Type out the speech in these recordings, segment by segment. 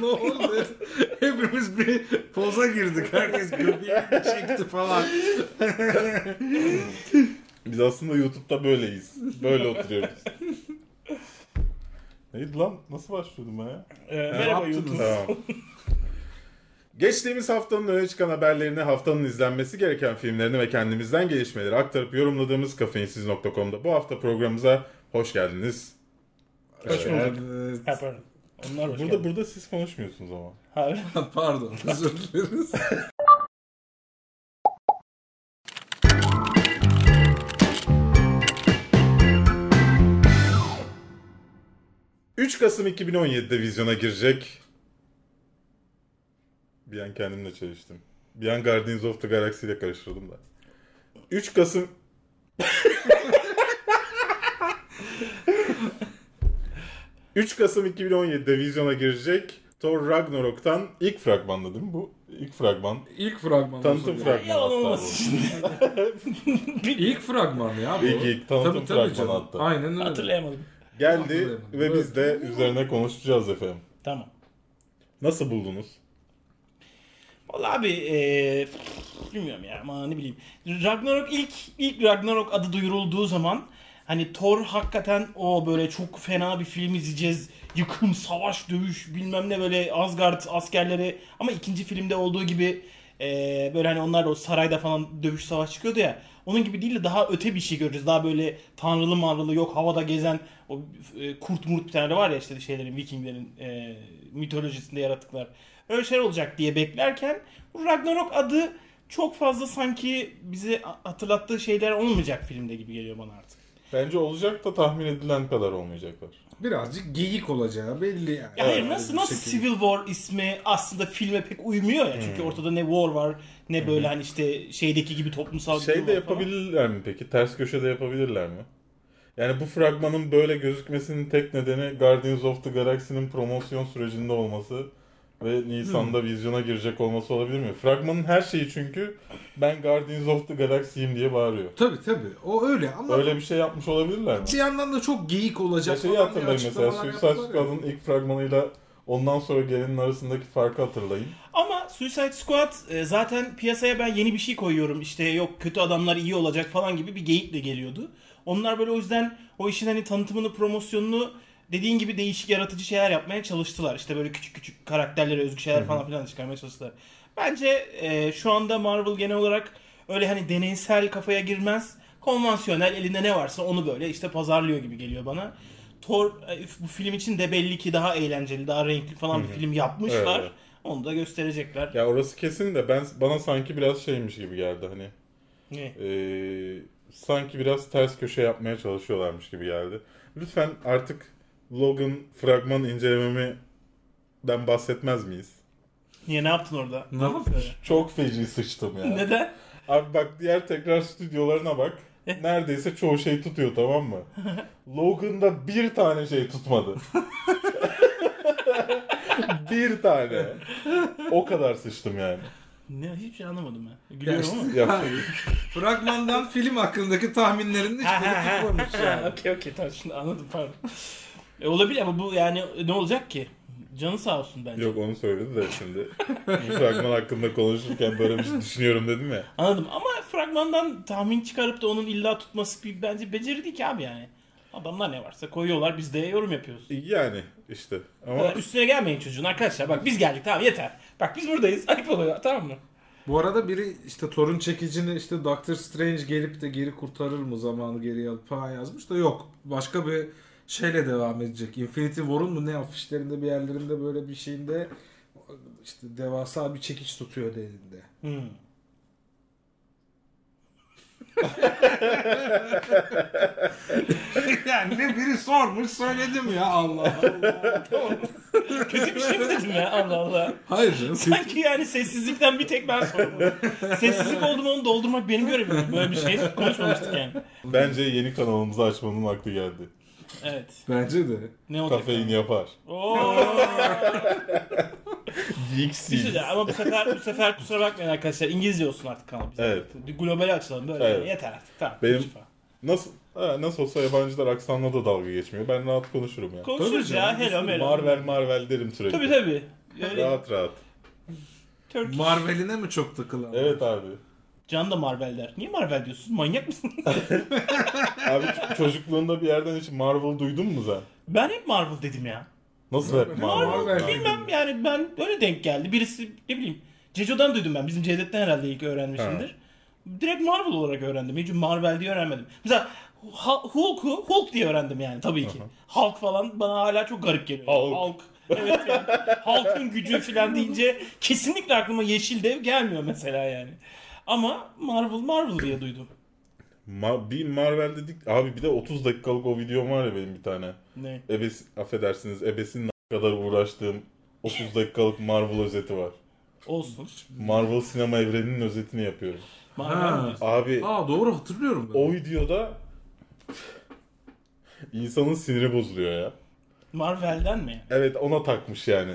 ne oldu? Hepimiz bir poza girdik. Herkes göbeğini çekti falan. Biz aslında YouTube'da böyleyiz. Böyle oturuyoruz. Neydi lan? Nasıl başlıyordum ben ya? Ee, merhaba yaptınız? YouTube. Tamam. Geçtiğimiz haftanın öne çıkan haberlerini, haftanın izlenmesi gereken filmlerini ve kendimizden gelişmeleri aktarıp yorumladığımız kafeinsiz.com'da bu hafta programımıza hoş geldiniz. Hoş bulduk. Evet. Ha, pardon. Onlar hoş Burada geldin. burada siz konuşmuyorsunuz ama. Ha, öyle mi? Ee, Pardon özür dileriz. ...3 Kasım 2017'de vizyona girecek. Bir an kendimle çalıştım. Bir an Guardians of the Galaxy ile karıştırdım da. 3 Kasım... 3 Kasım 2017'de vizyona girecek Thor Ragnarok'tan ilk fragmanla değil mi bu? İlk fragman. İlk fragman. Tanıtım olsun. fragmanı Yalan hatta olmasın bu. şimdi. İlk fragman ya bu. İlk ilk tanıtım fragmanı canım. hatta. Aynen öyle. Hatırlayamadım. Geldi Hatırlayamadım. ve biz de Evet. üzerine konuşacağız efendim. Tamam. Nasıl buldunuz? Vallahi abi eee bilmiyorum ya ama ne bileyim. Ragnarok ilk ilk Ragnarok adı duyurulduğu zaman hani Thor hakikaten o böyle çok fena bir film izleyeceğiz. Yıkım, savaş, dövüş bilmem ne böyle Asgard askerleri ama ikinci filmde olduğu gibi eee, böyle hani onlar da o sarayda falan dövüş savaş çıkıyordu ya. Onun gibi değil de daha öte bir şey göreceğiz. Daha böyle tanrılı manrılı yok havada gezen o e, kurt murt bir tane de var ya işte şeylerin Vikinglerin e, mitolojisinde yarattıklar. Öyle şeyler olacak diye beklerken bu Ragnarok adı çok fazla sanki bize a- hatırlattığı şeyler olmayacak filmde gibi geliyor bana artık. Bence olacak da tahmin edilen kadar olmayacaklar. Birazcık geyik olacağı belli yani. Ya hayır Yani nasıl bir nasıl şekilde. Hmm. Civil War ismi aslında filme pek uymuyor ya. Çünkü ortada ne war var ne böyle hani işte şeydeki gibi toplumsal bir Şey durum de var falan. yapabilirler mi peki? Ters köşede yapabilirler mi? Yani bu fragmanın böyle gözükmesinin tek nedeni Guardians of the Galaxy'nin promosyon sürecinde olması ve Nisan'da vizyona girecek olması olabilir mi? Fragmanın her şeyi çünkü ben Guardians of the Galaxy'yim diye bağırıyor. Tabii tabii. O öyle ama Öyle bir şey yapmış olabilirler mi? bir yandan da çok geyik Ya olacak. falan şeyi diye hatırlayın mesela açıklamalar Suicide yaptılar ya. Squad'ın ilk fragmanıyla ondan sonra gelenin arasındaki farkı hatırlayın. Ama Suicide Squad e, zaten piyasaya ben yeni bir şey koyuyorum işte yok kötü adamlar iyi olacak falan gibi bir geyikle geliyordu. Onlar böyle o yüzden o işin hani tanıtımını, promosyonunu dediğin gibi değişik yaratıcı şeyler yapmaya çalıştılar. İşte böyle küçük küçük karakterlere özgü şeyler falan filan çıkarmaya çalıştılar. Bence e, şu anda Marvel genel olarak öyle hani deneysel kafaya girmez. Konvansiyonel elinde ne varsa onu böyle işte pazarlıyor gibi geliyor bana. Thor e, bu film için de belli ki daha eğlenceli, daha renkli falan bir film yapmışlar. Evet. Onu da gösterecekler. Ya orası kesin de ben bana sanki biraz şeymiş gibi geldi hani. Ne? Ee, sanki biraz ters köşe yapmaya çalışıyorlarmış gibi geldi. Lütfen artık Logan fragman incelememiden bahsetmez miyiz? Niye ne yaptın orada? Ne yapıyor? Çok feci sıçtım ya. Neden? Abi bak diğer tekrar stüdyolarına bak. Neredeyse çoğu şey tutuyor tamam mı? Logan'da bir tane şey tutmadı. bir tane. O kadar sıçtım yani. Ne hiç şey anlamadım ben. Gülüyorum işte- ama. Ya, Fragmandan film hakkındaki tahminlerini hiç Ha, ha, ha. tutmamış Ha, yani. Okey okey tamam şimdi anladım pardon. E, olabilir ama bu yani ne olacak ki? Canı sağ olsun bence. Yok onu söyledi de şimdi. Bu fragman hakkında konuşurken böyle bir şey düşünüyorum dedim ya. Anladım ama fragmandan tahmin çıkarıp da onun illa tutması bir bence beceri değil ki abi yani. Adamlar ne varsa koyuyorlar biz de yorum yapıyoruz. Yani işte ama Ee, Üstüne gelmeyin çocuğun arkadaşlar bak biz geldik tamam yeter. Bak biz buradayız ayıp oluyor tamam mı? Bu arada biri işte torun çekicini işte Doctor Strange gelip de geri kurtarır mı zamanı geriye alıp falan yazmış da yok. Başka bir şeyle devam edecek. Infinity War'un mu ne afişlerinde bir yerlerinde böyle bir şeyinde işte devasa bir çekiç tutuyor elinde. Hmm. yani ne biri sormuş söyledim ya Allah Allah. Kötü bir şey mi dedim ya Allah Allah. Hayır canım. Sanki yani sessizlikten bir tek ben sorumluyum. Sessizlik oldu mu onu doldurmak benim görevim. Böyle bir şey konuşmamıştık yani. bence yeni kanalımızı açmanın vakti geldi. Evet. Bence de. Ne olacak? Kafein yapar. Oo. Bir şey Yiksiz. söyleyeceğim ama bu sefer bu sefer kusura bakmayın arkadaşlar. İngilizce olsun artık kanal bizim. Evet. Global açalım böyle. Evet. Yeter artık. Tamam. Benim- Konuşma. Nasıl ha, nasıl olsa yabancılar aksanla da dalga geçmiyor. Ben rahat konuşurum ya. Konuşuruz Tabii canım, ya. Hello hello. Marvel Marvel derim sürekli. Tabii tabii. Öyle Rahat rahat. Turkish. Marvel'ine mi çok takılan? Evet abi. Can da Marvel der. Niye Marvel diyorsunuz? Manyak mısın? Abi ç- çocukluğunda bir yerden hiç Marvel duydun mu sen? ben hep Marvel dedim ya. Nasıl hep Marvel? Marvel. Abi? Bilmem yani ben öyle denk geldi. Birisi ne bileyim Ceco'dan duydum ben. Bizim Cevdet'ten herhalde ilk öğrenmişimdir. Direkt Marvel olarak öğrendim. Hiç Marvel diye öğrenmedim. Mesela Ha- Hulk'u Hulk diye öğrendim yani tabii ki. Hulk falan bana hala çok garip geliyor. Hulk. Evet yani. Hulk'un gücü falan deyince kesinlikle aklıma Yeşil Dev gelmiyor mesela yani. Ama Marvel Marvel diye duydum. Ma- bir Marvel dedik. Abi bir de 30 dakikalık o videom var ya benim bir tane. Ne? Ebes, affedersiniz ebesinin a- kadar uğraştığım 30 dakikalık Marvel özeti var. Olsun. Marvel sinema evreninin özetini yapıyorum. Marvel Ha. diyorsun. Abi Aa doğru hatırlıyorum ben. o videoda insanın siniri bozuluyor ya. Marvel'den mi? yani? Evet ona takmış yani.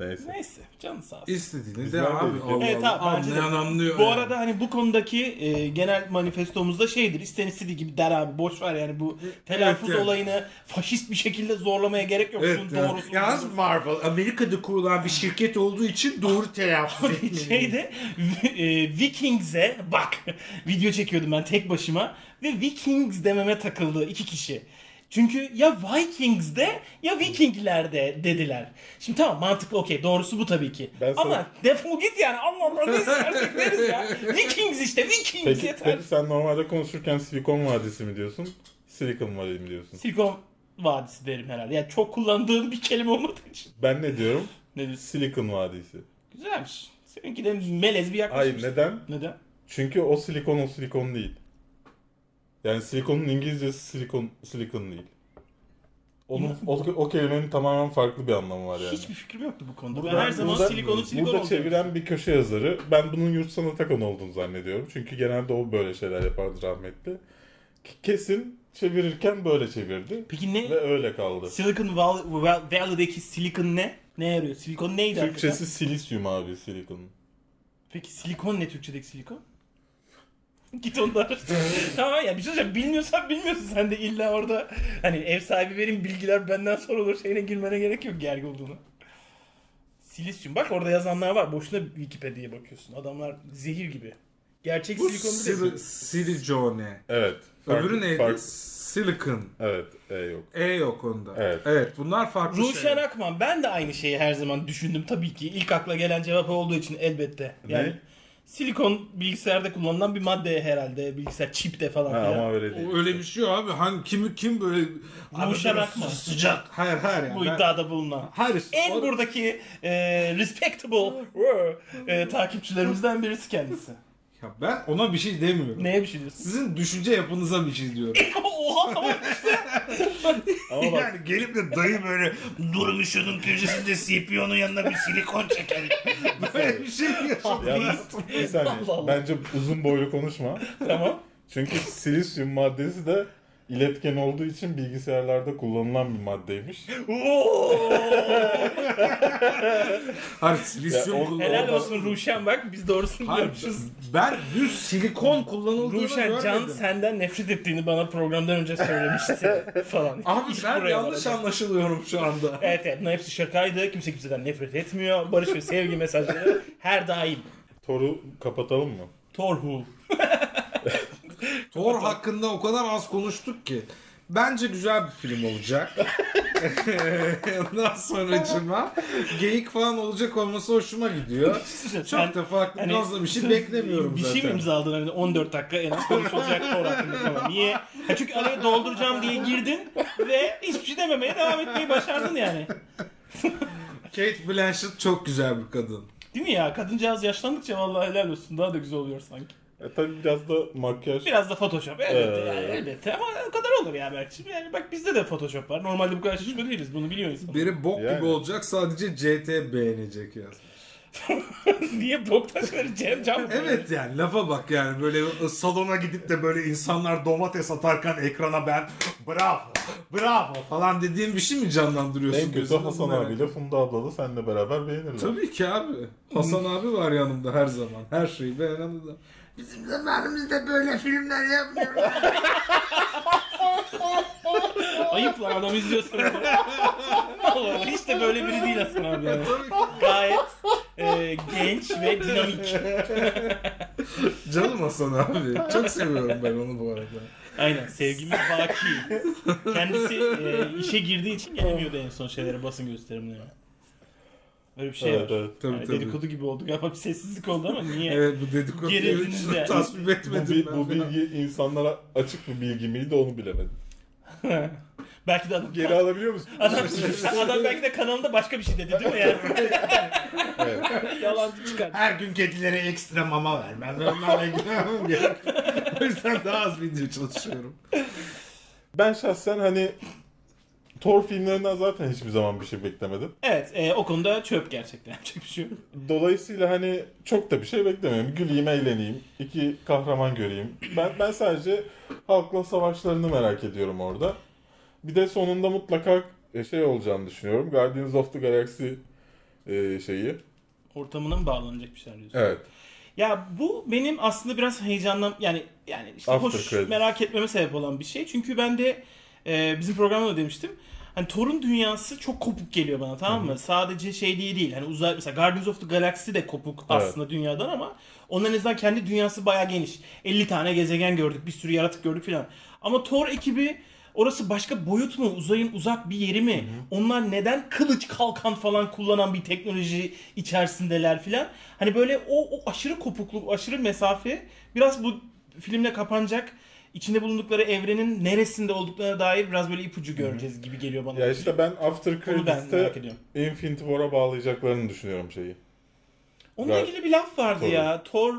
Neyse. Neyse. Canı sağ olsun. İstediğini Biz de abi. neredeyiz? Allah Evet Allah. abi bence de. Anlayan anlıyor. Bu yani. arada hani bu konudaki e, genel manifestomuzda şeydir. İsten istediği gibi der abi. Boş ver yani bu telaffuz evet yani. olayını faşist bir şekilde zorlamaya gerek yok. Evet, Şunun yani. doğrusu. Yalnız Marvel Amerika'da kurulan bir şirket olduğu için doğru telaffuz Abi etmeliyiz. şeyde e, Vikings'e bak video çekiyordum ben tek başıma ve Vikings dememe takıldı iki kişi. Çünkü ya Vikings'de ya Vikinglerde dediler. Şimdi tamam mantıklı okey doğrusu bu tabii ki. Ben sana- Ama defol git yani Allah Allah ne istersek deriz ya. Vikings işte Vikings Peki, yeter. peki sen normalde konuşurken Silikon Vadisi mi diyorsun? Silikon Vadisi mi diyorsun? Silikon Vadisi derim herhalde. Yani çok kullandığım bir kelime olmadığı için. Ben ne diyorum? Ne diyorsun? Silikon Vadisi. Güzelmiş. Seninki de melez bir yaklaşım. Hayır neden? Neden? Çünkü o silikon o silikon değil. Yani silikonun İngilizcesi silikon silikon değil. Onun o, o kelimenin tamamen farklı bir anlamı var yani. Hiçbir fikrim yoktu bu konuda. Burada- ben her zaman burada- silikonu silikon Burada oldu. çeviren bir köşe yazarı ben bunun yurt sanat akonu olduğunu zannediyorum. Çünkü genelde o böyle şeyler yapardı rahmetli. K- Kesin çevirirken böyle çevirdi Peki ne? ve öyle kaldı. Silicon Val- Val- Valley'deki silikon ne? Ne yarıyor? Silikon neydi hakikaten? Türkçesi silisyum abi silikon. Peki silikon ne Türkçedeki silikon? Git onu da araştır. tamam ya bir şey söyleyeceğim. Bilmiyorsan bilmiyorsun sen de illa orada hani ev sahibi benim bilgiler benden sonra olur şeyine girmene gerek yok gergi olduğunu. Silisyum. Bak orada yazanlar var. Boşuna Wikipedia'ya bakıyorsun. Adamlar zehir gibi. Gerçek Bu silikon sil- değil. silicone. Evet. farklı- Öbürü neydi? farklı- Silicon. Evet. E yok. E yok onda. Evet. bunlar farklı Ruşen şeyler. Akman ben de aynı şeyi her zaman düşündüm tabii ki. İlk akla gelen cevap olduğu için elbette. Ne? Yani silikon bilgisayarda kullanılan bir madde herhalde. Bilgisayar çipte falan Ha, filan. ama öyle değil. O öyle bir şey abi. Hangi kim kim böyle Abi Ruşen Akman. Sıcak. Hayır hayır yani. Bu Ben- iddiada bulunan. Hayır. işte En o- buradaki e, respectable e, takipçilerimizden birisi kendisi. Ya ben ona bir şey demiyorum. Neye bir şey diyorsun? Sizin düşünce yapınıza bir şey diyorum. Oha tamam. Ama bak Yani gelip de dayı böyle durmuşunun köşesinde CPU'nun yanına bir silikon çeker. Böyle bir şey yaşadım. Ya bir saniye. Allah Allah. Bence uzun boylu konuşma. tamam. Çünkü silisyum maddesi de iletken olduğu için bilgisayarlarda kullanılan bir maddeymiş. Hayır silisyum Ya o- kullanıldı. Helal olsun Ruşen bak biz doğrusunu Hayır, diyormuşuz. ben düz silikon kullanıldığını Ruşen Can görmedim. senden nefret ettiğini bana programdan önce söylemişti falan. Abi İş ben buraya yanlış vardı. anlaşılıyorum şu anda. Evet evet bunların hepsi şakaydı. Kimse kimseden nefret etmiyor. Barış ve sevgi mesajları her daim. Toru kapatalım mı? Torhu. Thor hakkında o kadar az konuştuk ki. Bence güzel bir film olacak. Ondan sonracıma geyik falan olacak olması hoşuma gidiyor. Çok Sen- da farklı hani- fazla bir şey beklemiyorum bir zaten. şey mi imzaladın hani 14 dakika en az konuşulacak Thor hakkında falan. Niye? Ha çünkü araya dolduracağım diye girdin ve hiçbir şey dememeye devam etmeyi başardın yani. Kate Blanchett çok güzel bir kadın. Değil mi ya? Kadıncağız yaşlandıkça vallahi helal olsun. Daha da güzel oluyor sanki. E tabi biraz da makyaj. Biraz da Photoshop. Elbette, Ee. yani, elbette. ama o kadar olur ya Berk'cim. Yani bak bizde de Photoshop var. Normalde bu kadar şişko değiliz. Bunu biliyor insan. Biri bok Yani. gibi olacak sadece CT beğenecek ya. Niye bok taşları cam cam Evet yani lafa bak yani böyle e, Salona gidip de böyle insanlar domates atarken ekrana ben bravo bravo. falan dediğin bir şey mi canlandırıyorsun? En kötü gözünü? Hasan Bunlar- abiyle Funda abla da seninle beraber beğenirler. Tabii ki abi. Hasan abi var yanımda her zaman. Her şeyi beğenen adam. Bizim zamanımızda böyle filmler yapmıyoruz. Ayıp lan adam izliyorsa. Bravo. Hiç de böyle biri değil Hasan abi. Yani. Gayet e, genç ve dinamik. Canım Hasan abi. Çok seviyorum ben onu bu arada. Aynen. Sevgimiz Baki. Kendisi e, işe girdiği için gelemiyordu en son şeylere basın gösterimlerine. Öyle bir şey Evet, var. evet. Tabii Yani tabii. dedikodu gibi oldu galiba bir sessizlik oldu ama niye? Evet bu dedikoduyu Gerildiniz hiç yani. tasvip Bu, etmedim bi- ben. bu bilgi insanlara açık bir bilgi miydi onu bilemedim. Belki de adam Geri alabiliyor musun? Adam, adam belki de kanalında başka bir şey dedi değil mi yani? Evet. Yalancı çıkar. Her gün kedilere ekstra mama ver. Ben de onlarla gidiyorum diye. O yüzden daha az video çalışıyorum. Ben şahsen hani Thor filmlerinden zaten hiçbir zaman bir şey beklemedim. Evet e, o konuda çöp gerçekten. Yapacak bir şey yok. Dolayısıyla hani çok da bir şey beklemiyorum. Güleyim, eğleneyim. iki kahraman göreyim. Ben, ben sadece halkla savaşlarını merak ediyorum orada. Bir de sonunda mutlaka şey olacağını düşünüyorum. Guardians of the Galaxy e, şeyi. Ortamına mı bağlanacak bir şeyler diyorsun? Evet. Ya bu benim aslında biraz heyecanlan yani yani işte After hoş credits. merak etmeme sebep olan bir şey. Çünkü ben de e, bizim programda da demiştim. Hani Thor'un dünyası çok kopuk geliyor bana tamam mı? Sadece şey diye değil. Hani uzay mesela Guardians of the Galaxy de kopuk aslında dünyadan ama onların en azından kendi dünyası bayağı geniş. 50 tane gezegen gördük, bir sürü yaratık gördük filan. Ama Thor ekibi orası başka boyut mu? Uzayın uzak bir yeri mi? Onlar neden kılıç kalkan falan kullanan bir teknoloji içerisindeler filan? Hani böyle o, o aşırı kopukluk, aşırı mesafe biraz bu filmle kapanacak. İçinde bulundukları evrenin neresinde olduklarına dair biraz böyle ipucu göreceğiz gibi geliyor bana. Ya işte ben After Onu ben merak Credits'te ediyorum. Infinity War'a bağlayacaklarını düşünüyorum şeyi. Onunla Gar- ilgili bir laf vardı Thor. ya. Thor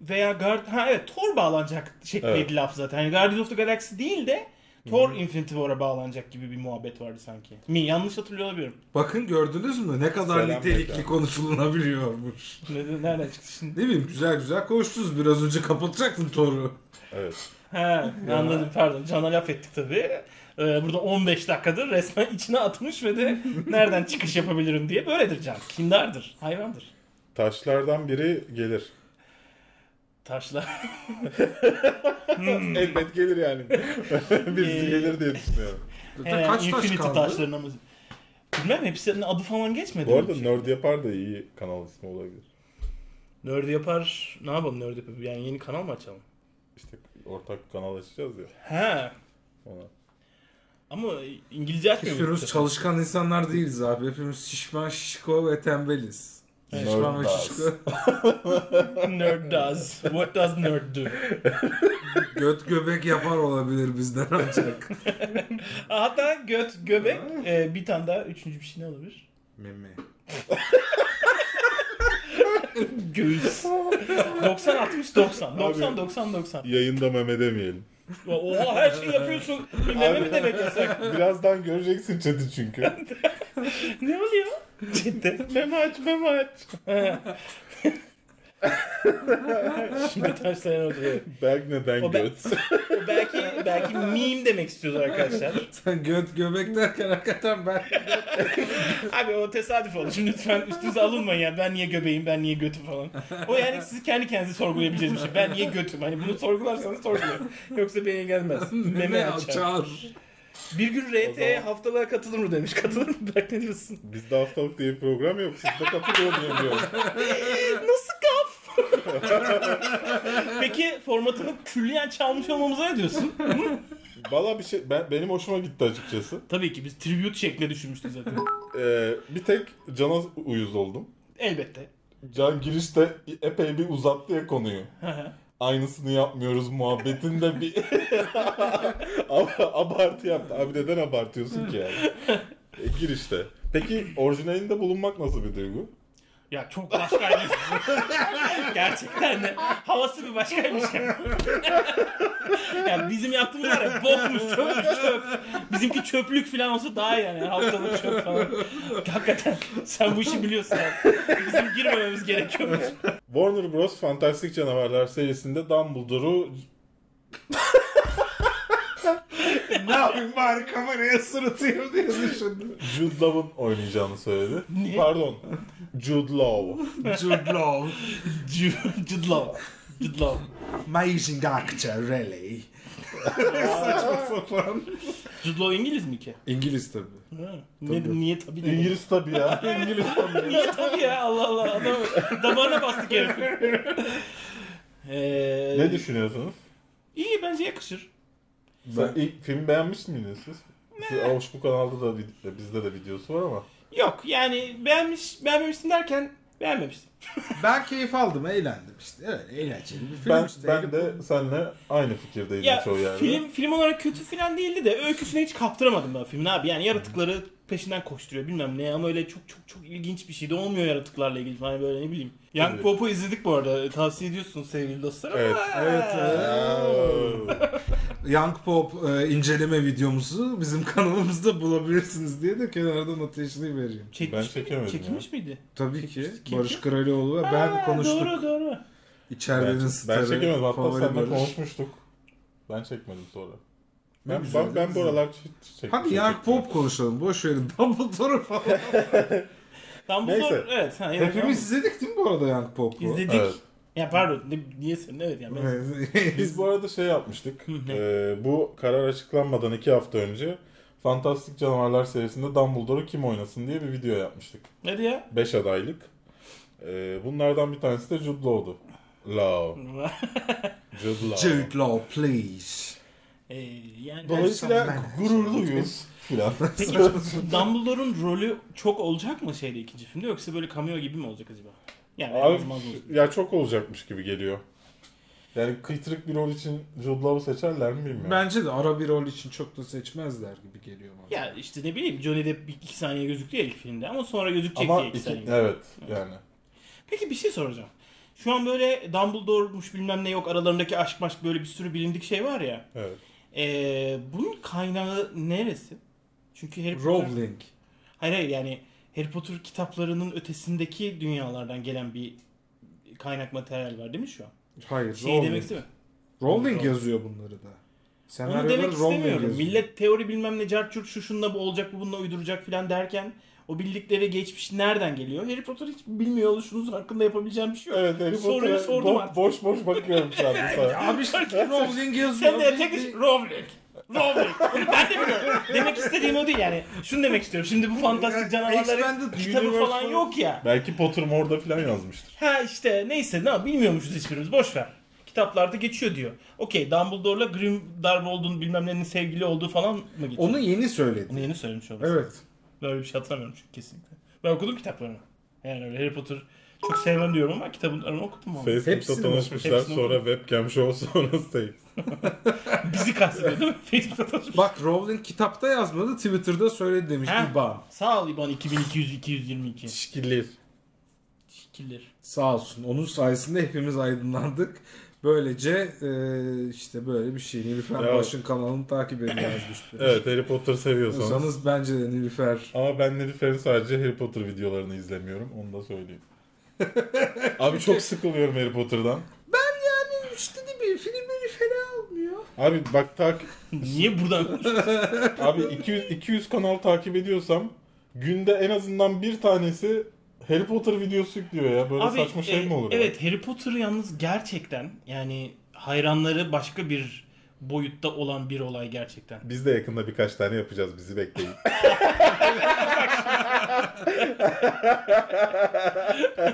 veya Guard... Ha evet Thor bağlanacak şeklindeydi Evet. laf zaten. Yani Guardians of the Galaxy değil de Thor Infinity War'a bağlanacak gibi bir muhabbet vardı sanki. Mi yanlış hatırlıyor olabilirim. Bakın gördünüz mü ne kadar Selam nitelikli Mete. konuşulunabiliyormuş. Ne- Nereden çıktı şimdi? Ne bileyim güzel güzel konuştunuz. Biraz önce kapatacaktın Thor'u. Evet. Ha anladım pardon. Can'a laf ettik tabii. Ee, burada 15 dakikadır resmen içine atmış ve de nereden çıkış yapabilirim diye böyledir Can. Kindardır, hayvandır. Taşlardan biri gelir. Taşlar. Elbet gelir yani. Birisi Ee, gelir diye düşünüyorum. Zaten He, kaç taş Ee, Infinity kaldı? taşlarına mı? Bilmem hepsinin adı falan geçmedi. Bu mi? arada Nerd Yapar da iyi kanal ismi olabilir. Nerd yapar. Ne yapalım nerd yapar? Yani yeni kanal mı açalım? İşte ortak kanal açacağız ya He. ona. Ama İngilizce açmıyor muyuz bu Hiçbirimiz sefer? çalışkan insanlar değiliz abi. Hepimiz şişman, şişko ve tembeliz. Evet. Şişman ve Nerd şişko. Nerd does. What does nerd do? Göt göbek yapar olabilir bizden ancak. Hatta göt, göbek. e, bir tane daha üçüncü bir şey ne olabilir? Meme. Göğüs. 90 60 90. 90 90 90. Yayında meme demeyelim. Oha her şeyi yapıyorsun. Bilmeme mi demek yasak? Birazdan göreceksin chat'i çünkü. Ne oluyor? Cidden. meme aç meme aç. Şimdi taşlayan oturuyor. Berk neden O ben- göt? O Belki belki meme demek istiyordur arkadaşlar. Sen göt göbek derken hakikaten ben Abi o tesadüf oldu. Şimdi lütfen üstünüze alınmayın ya. Ben niye göbeğim, ben niye götüm falan. O yani sizi kendi kendinize sorgulayabileceğiniz bir şey. Ben niye götüm? Hani bunu sorgularsanız sorgulayın. Yoksa beni gelmez. meme Meme açar. açar. Bir gün RT haftalığa katılır mı demiş. Katılır mı? Bak ne diyorsun? Bizde haftalık diye bir program yok. Sizde katılıyor diye biliyorum. Nasıl kaf? Peki formatını külliyen çalmış olmamıza ne diyorsun? Valla bir şey ben, benim hoşuma gitti açıkçası. Tabii ki biz tribute şeklinde düşünmüştük zaten. Ee, bir tek Can'a uyuz oldum. Elbette. Can girişte epey bir uzattı ya konuyu. Aynısını yapmıyoruz muhabbetinde bir Ab- abartı yaptı. Abi neden abartıyorsun ki yani? E, girişte. Peki orijinalinde bulunmak nasıl bir duygu? Ya çok başkaymış. Gerçekten de havası bir başkaymış ya. ya bizim yaptığımız var ya bokmuş çöpmüş çöp. Bizimki çöplük falan olsa daha iyi yani haftalık çöp falan. Hakikaten sen bu işi biliyorsun abi. Bizim girmememiz gerekiyormuş. Warner Bros. Fantastik Canavarlar serisinde Dumbledore'u ne yapayım bari kameraya sırıtayım diye düşündüm. Jude Law'ın oynayacağını söyledi. Ne? Pardon. Jude Law. Jude Law. Cıdlav. Cıdlav. Amazing actor really. Saçma sapan. Jude Law İngiliz mi ki? İngiliz tabii. Ha. Ne, niye tabii? dedi? İngiliz tabii ya. İngiliz tabii. Niye tabii ya Allah Allah. Adam damarına bastık herif. Ee, ne düşünüyorsunuz? İyi bence yakışır. Sen ilk film beğenmiş miydiniz siz? Siz Avuç bu kanalda da vid- bizde de videosu var ama. Yok yani beğenmiş, beğenmemişsin derken beğenmemişsin. Ben keyif aldım, eğlendim işte. Evet, eğlenceli bir film ben işte. ben de seninle aynı fikirdeydim Ya çoğu yerde. film film olarak kötü falan değildi de öyküsüne hiç kaptıramadım ben filmin abi. Yani yaratıkları peşinden koşturuyor bilmem ne ama öyle çok çok çok ilginç bir şey de olmuyor yaratıklarla ilgili falan böyle ne bileyim. Young Evet. Pop'u izledik bu arada. Tavsiye ediyorsunuz sevgili dostlar ama Evet. Evet, evet. Young Pop e, inceleme videomuzu bizim kanalımızda bulabilirsiniz diye de kenardan ateşini vereyim. çekmiş Ben miydi? çekemedim Çekilmiş miydi? Tabii ki Çekmiştik, kim Barış kim? Kralioğlu ve ben Ha, konuştuk. Doğru doğru. İçeridenin ben, starı, ben çekemedim hatta favori seninle Barış. konuşmuştuk. Ben çekmedim sonra. Ne Ben, güzel, ben, ne ben bu güzel. aralar ç- çektim. Hadi Young Pop konuşalım. Boş verin Dumbledore'u falan. Dumbledore Neyse. evet. Ha, evet, Hepimiz izledik değil mi bu arada Young Pop'u? İzledik. Evet. Ya pardon ne, niye sen evet yani ben Biz bu arada şey yapmıştık. Ee, bu karar açıklanmadan iki hafta önce Fantastik Canavarlar serisinde Dumbledore'u kim oynasın diye bir video yapmıştık. Hadi ya. 5 adaylık. Ee, bunlardan bir tanesi de Jude Law'du. Law. Jude Law. Jude Law please. Ee, yani Dolayısıyla gururluyuz filan. Peki Dumbledore'un rolü çok olacak mı şeyde ikinci filmde yoksa böyle cameo gibi mi olacak acaba? Yani Abi olmaz mı olacak? ya çok olacakmış gibi geliyor. Yani kıytırık bir rol için Jude Law'u seçerler mi bilmiyorum. Bence de ara bir rol için çok da seçmezler gibi geliyor bana. Ya işte ne bileyim Johnny Depp bir- iki saniye gözüktü ya ilk filmde ama sonra gözükecek Ama diye iki iki- saniye. evet yani. Peki bir şey soracağım. Şu an böyle Dumbledore'muş bilmem ne yok aralarındaki aşk maşk böyle bir sürü bilindik şey var ya. Evet. Ee, bunun kaynağı neresi? Çünkü Harry Potter... Rowling. Hayır hayır yani Harry Potter kitaplarının ötesindeki dünyalardan gelen bir kaynak materyal var değil mi şu an? Hayır. Şey Rowling. demek istemiyorum. Rowling Rowling. yazıyor bunları da. Onu Senaryoları demek Rowling istemiyorum. yazıyor. Millet teori bilmem ne carçurt şu şunla bu olacak bu bununla uyduracak filan derken o bildikleri geçmiş nereden geliyor? Harry Potter hiç bilmiyor oluşunuz hakkında yapabileceğim bir şey yok. Evet Harry Soruyu Potter'a sordum bo- artık. boş boş bakıyorum şu anda sana. Abi işte Rowling yazıyor. Sen de tek iş Rowling. Rowling. ben de biliyorum. Demek istediğim o değil yani. Şunu demek istiyorum. Şimdi bu fantastik canavarların Expanded kitabı Universe falan falan- yok ya. Belki Pottermore da filan yazmıştır. Ha işte neyse ne yap- bilmiyormuşuz hiçbirimiz boş ver. Kitaplarda geçiyor diyor. Okey Dumbledore'la Grindelwald'un bilmem nenin sevgili olduğu falan mı geçiyor? Onu yeni söyledi. Onu yeni söylemiş olması. Evet. Böyle bir şey hatırlamıyorum çünkü kesinlikle. Ben okudum kitaplarını. Yani öyle Harry Potter çok sevmem diyorum ama kitabını okudum ama. Facebook'ta Hepsini- tanışmışlar hepsini sonra webcam show sonrasındayız. Bizi kastediyor değil mi? Facebook'ta tanışmış. Bak Rowling kitapta yazmadı Twitter'da söyledi demiş Ha. İBAN. Sağ ol İban 2200 222. Şikillir. Şikiller. Sağ olsun. Onun sayesinde hepimiz aydınlandık. Böylece eee, işte böyle bir şey. Nilüfer Ya. Baş'ın kanalını takip edin yazmıştı. Evet Harry Potter seviyorsanız. Diyorsanız bence de Nilüfer. Ama ben Nilüfer'in sadece Harry Potter videolarını izlemiyorum. Onu da söyleyeyim. Abi çok sıkılıyorum Harry Potter'dan. Yani işte ne bileyim filmleri fena olmuyor. Abi bak tak Niye buradan? abi 200 200 kanal takip ediyorsam günde en azından bir tanesi Harry Potter videosu yüklüyor ya. Böyle saçma şey e, mi olur? ya? Evet Harry Potter yalnız gerçekten yani hayranları başka bir boyutta olan bir olay gerçekten. Biz de yakında birkaç tane yapacağız. Bizi bekleyin.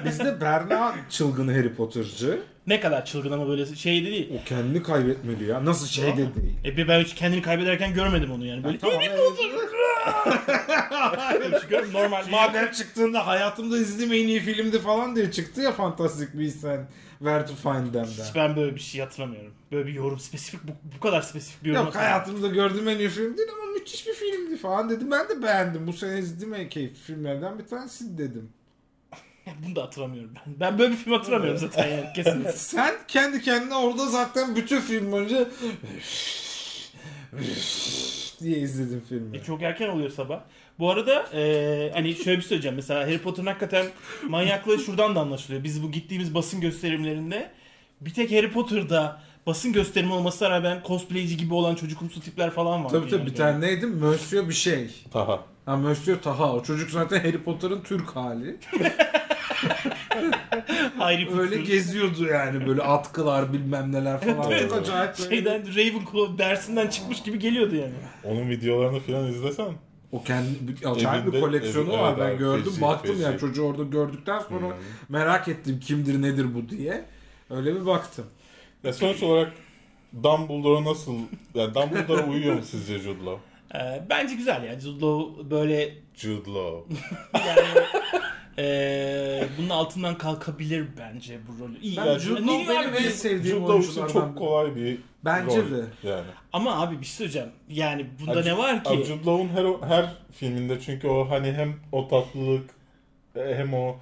Bizde Berna çılgın Harry Potter'cı. Ne kadar çılgın ama böyle şey de değil. O kendini kaybetmeli ya. Nasıl şey de değil. E bir ben hiç kendini kaybederken görmedim onu yani. Böyle Tamam, hiç görmedim. normal. Şey Madem çıktığında hayatımda izlediğim en iyi filmdi falan diye çıktı ya Fantastic Beasts and Where to Find Hiç Them'den. ben böyle bir şey hatırlamıyorum. Böyle bir yorum spesifik bu, bu kadar spesifik bir yorum. Yok hatırlamıyorum. hayatımda gördüğüm en iyi film değil ama müthiş bir filmdi falan dedim. Ben de beğendim. Bu sene izlediğim en keyifli filmlerden bir tanesi dedim. Bunu da hatırlamıyorum ben. Ben böyle bir film hatırlamıyorum zaten yani kesinlikle. Sen kendi kendine orada zaten bütün film boyunca diye izledim filmi. E, çok erken oluyor sabah. Bu arada e, hani şöyle bir şey söyleyeceğim. Mesela Harry Potter'ın hakikaten manyaklığı şuradan da anlaşılıyor. Biz bu gittiğimiz basın gösterimlerinde bir tek Harry Potter'da basın gösterimi olmasına rağmen cosplayci gibi olan çocukumsu tipler falan var. Tabii tabii bir Yani. tane neydi? Monsieur bir şey. Taha. Ha Monsieur Taha. O çocuk zaten Harry Potter'ın Türk hali. Hayri Öyle Pütür. geziyordu yani böyle atkılar bilmem neler falan. Evet. Çok acayip böyle. Şeyden Ravenclaw dersinden çıkmış gibi geliyordu yani. Onun videolarını filan izlesen. O kendi bir- acayip bir Evinde- koleksiyonu evi- var evet ben abi, gördüm. feci, baktım yani feci. çocuğu orada gördükten sonra merak ettim kimdir nedir bu diye. Öyle bir baktım. Ya sonuç olarak Dumbledore'a nasıl... Yani Dumbledore'a uyuyor mu sizce Jude Law? Ee, bence güzel ya. Jude Law böyle Jude Law. yani ee, bunun altından kalkabilir bence bu rolü. İyi. Ben yani. Jude Niye Law benim abi? en sevdiğim Jude Law için oyunculardan. çok kolay bir Bence rol. de. Yani. Ama abi bir şey söyleyeceğim. Yani bunda Abi, ne var ki? Abi Jude Law'un her, her filminde çünkü o hani hem o tatlılık e, hem o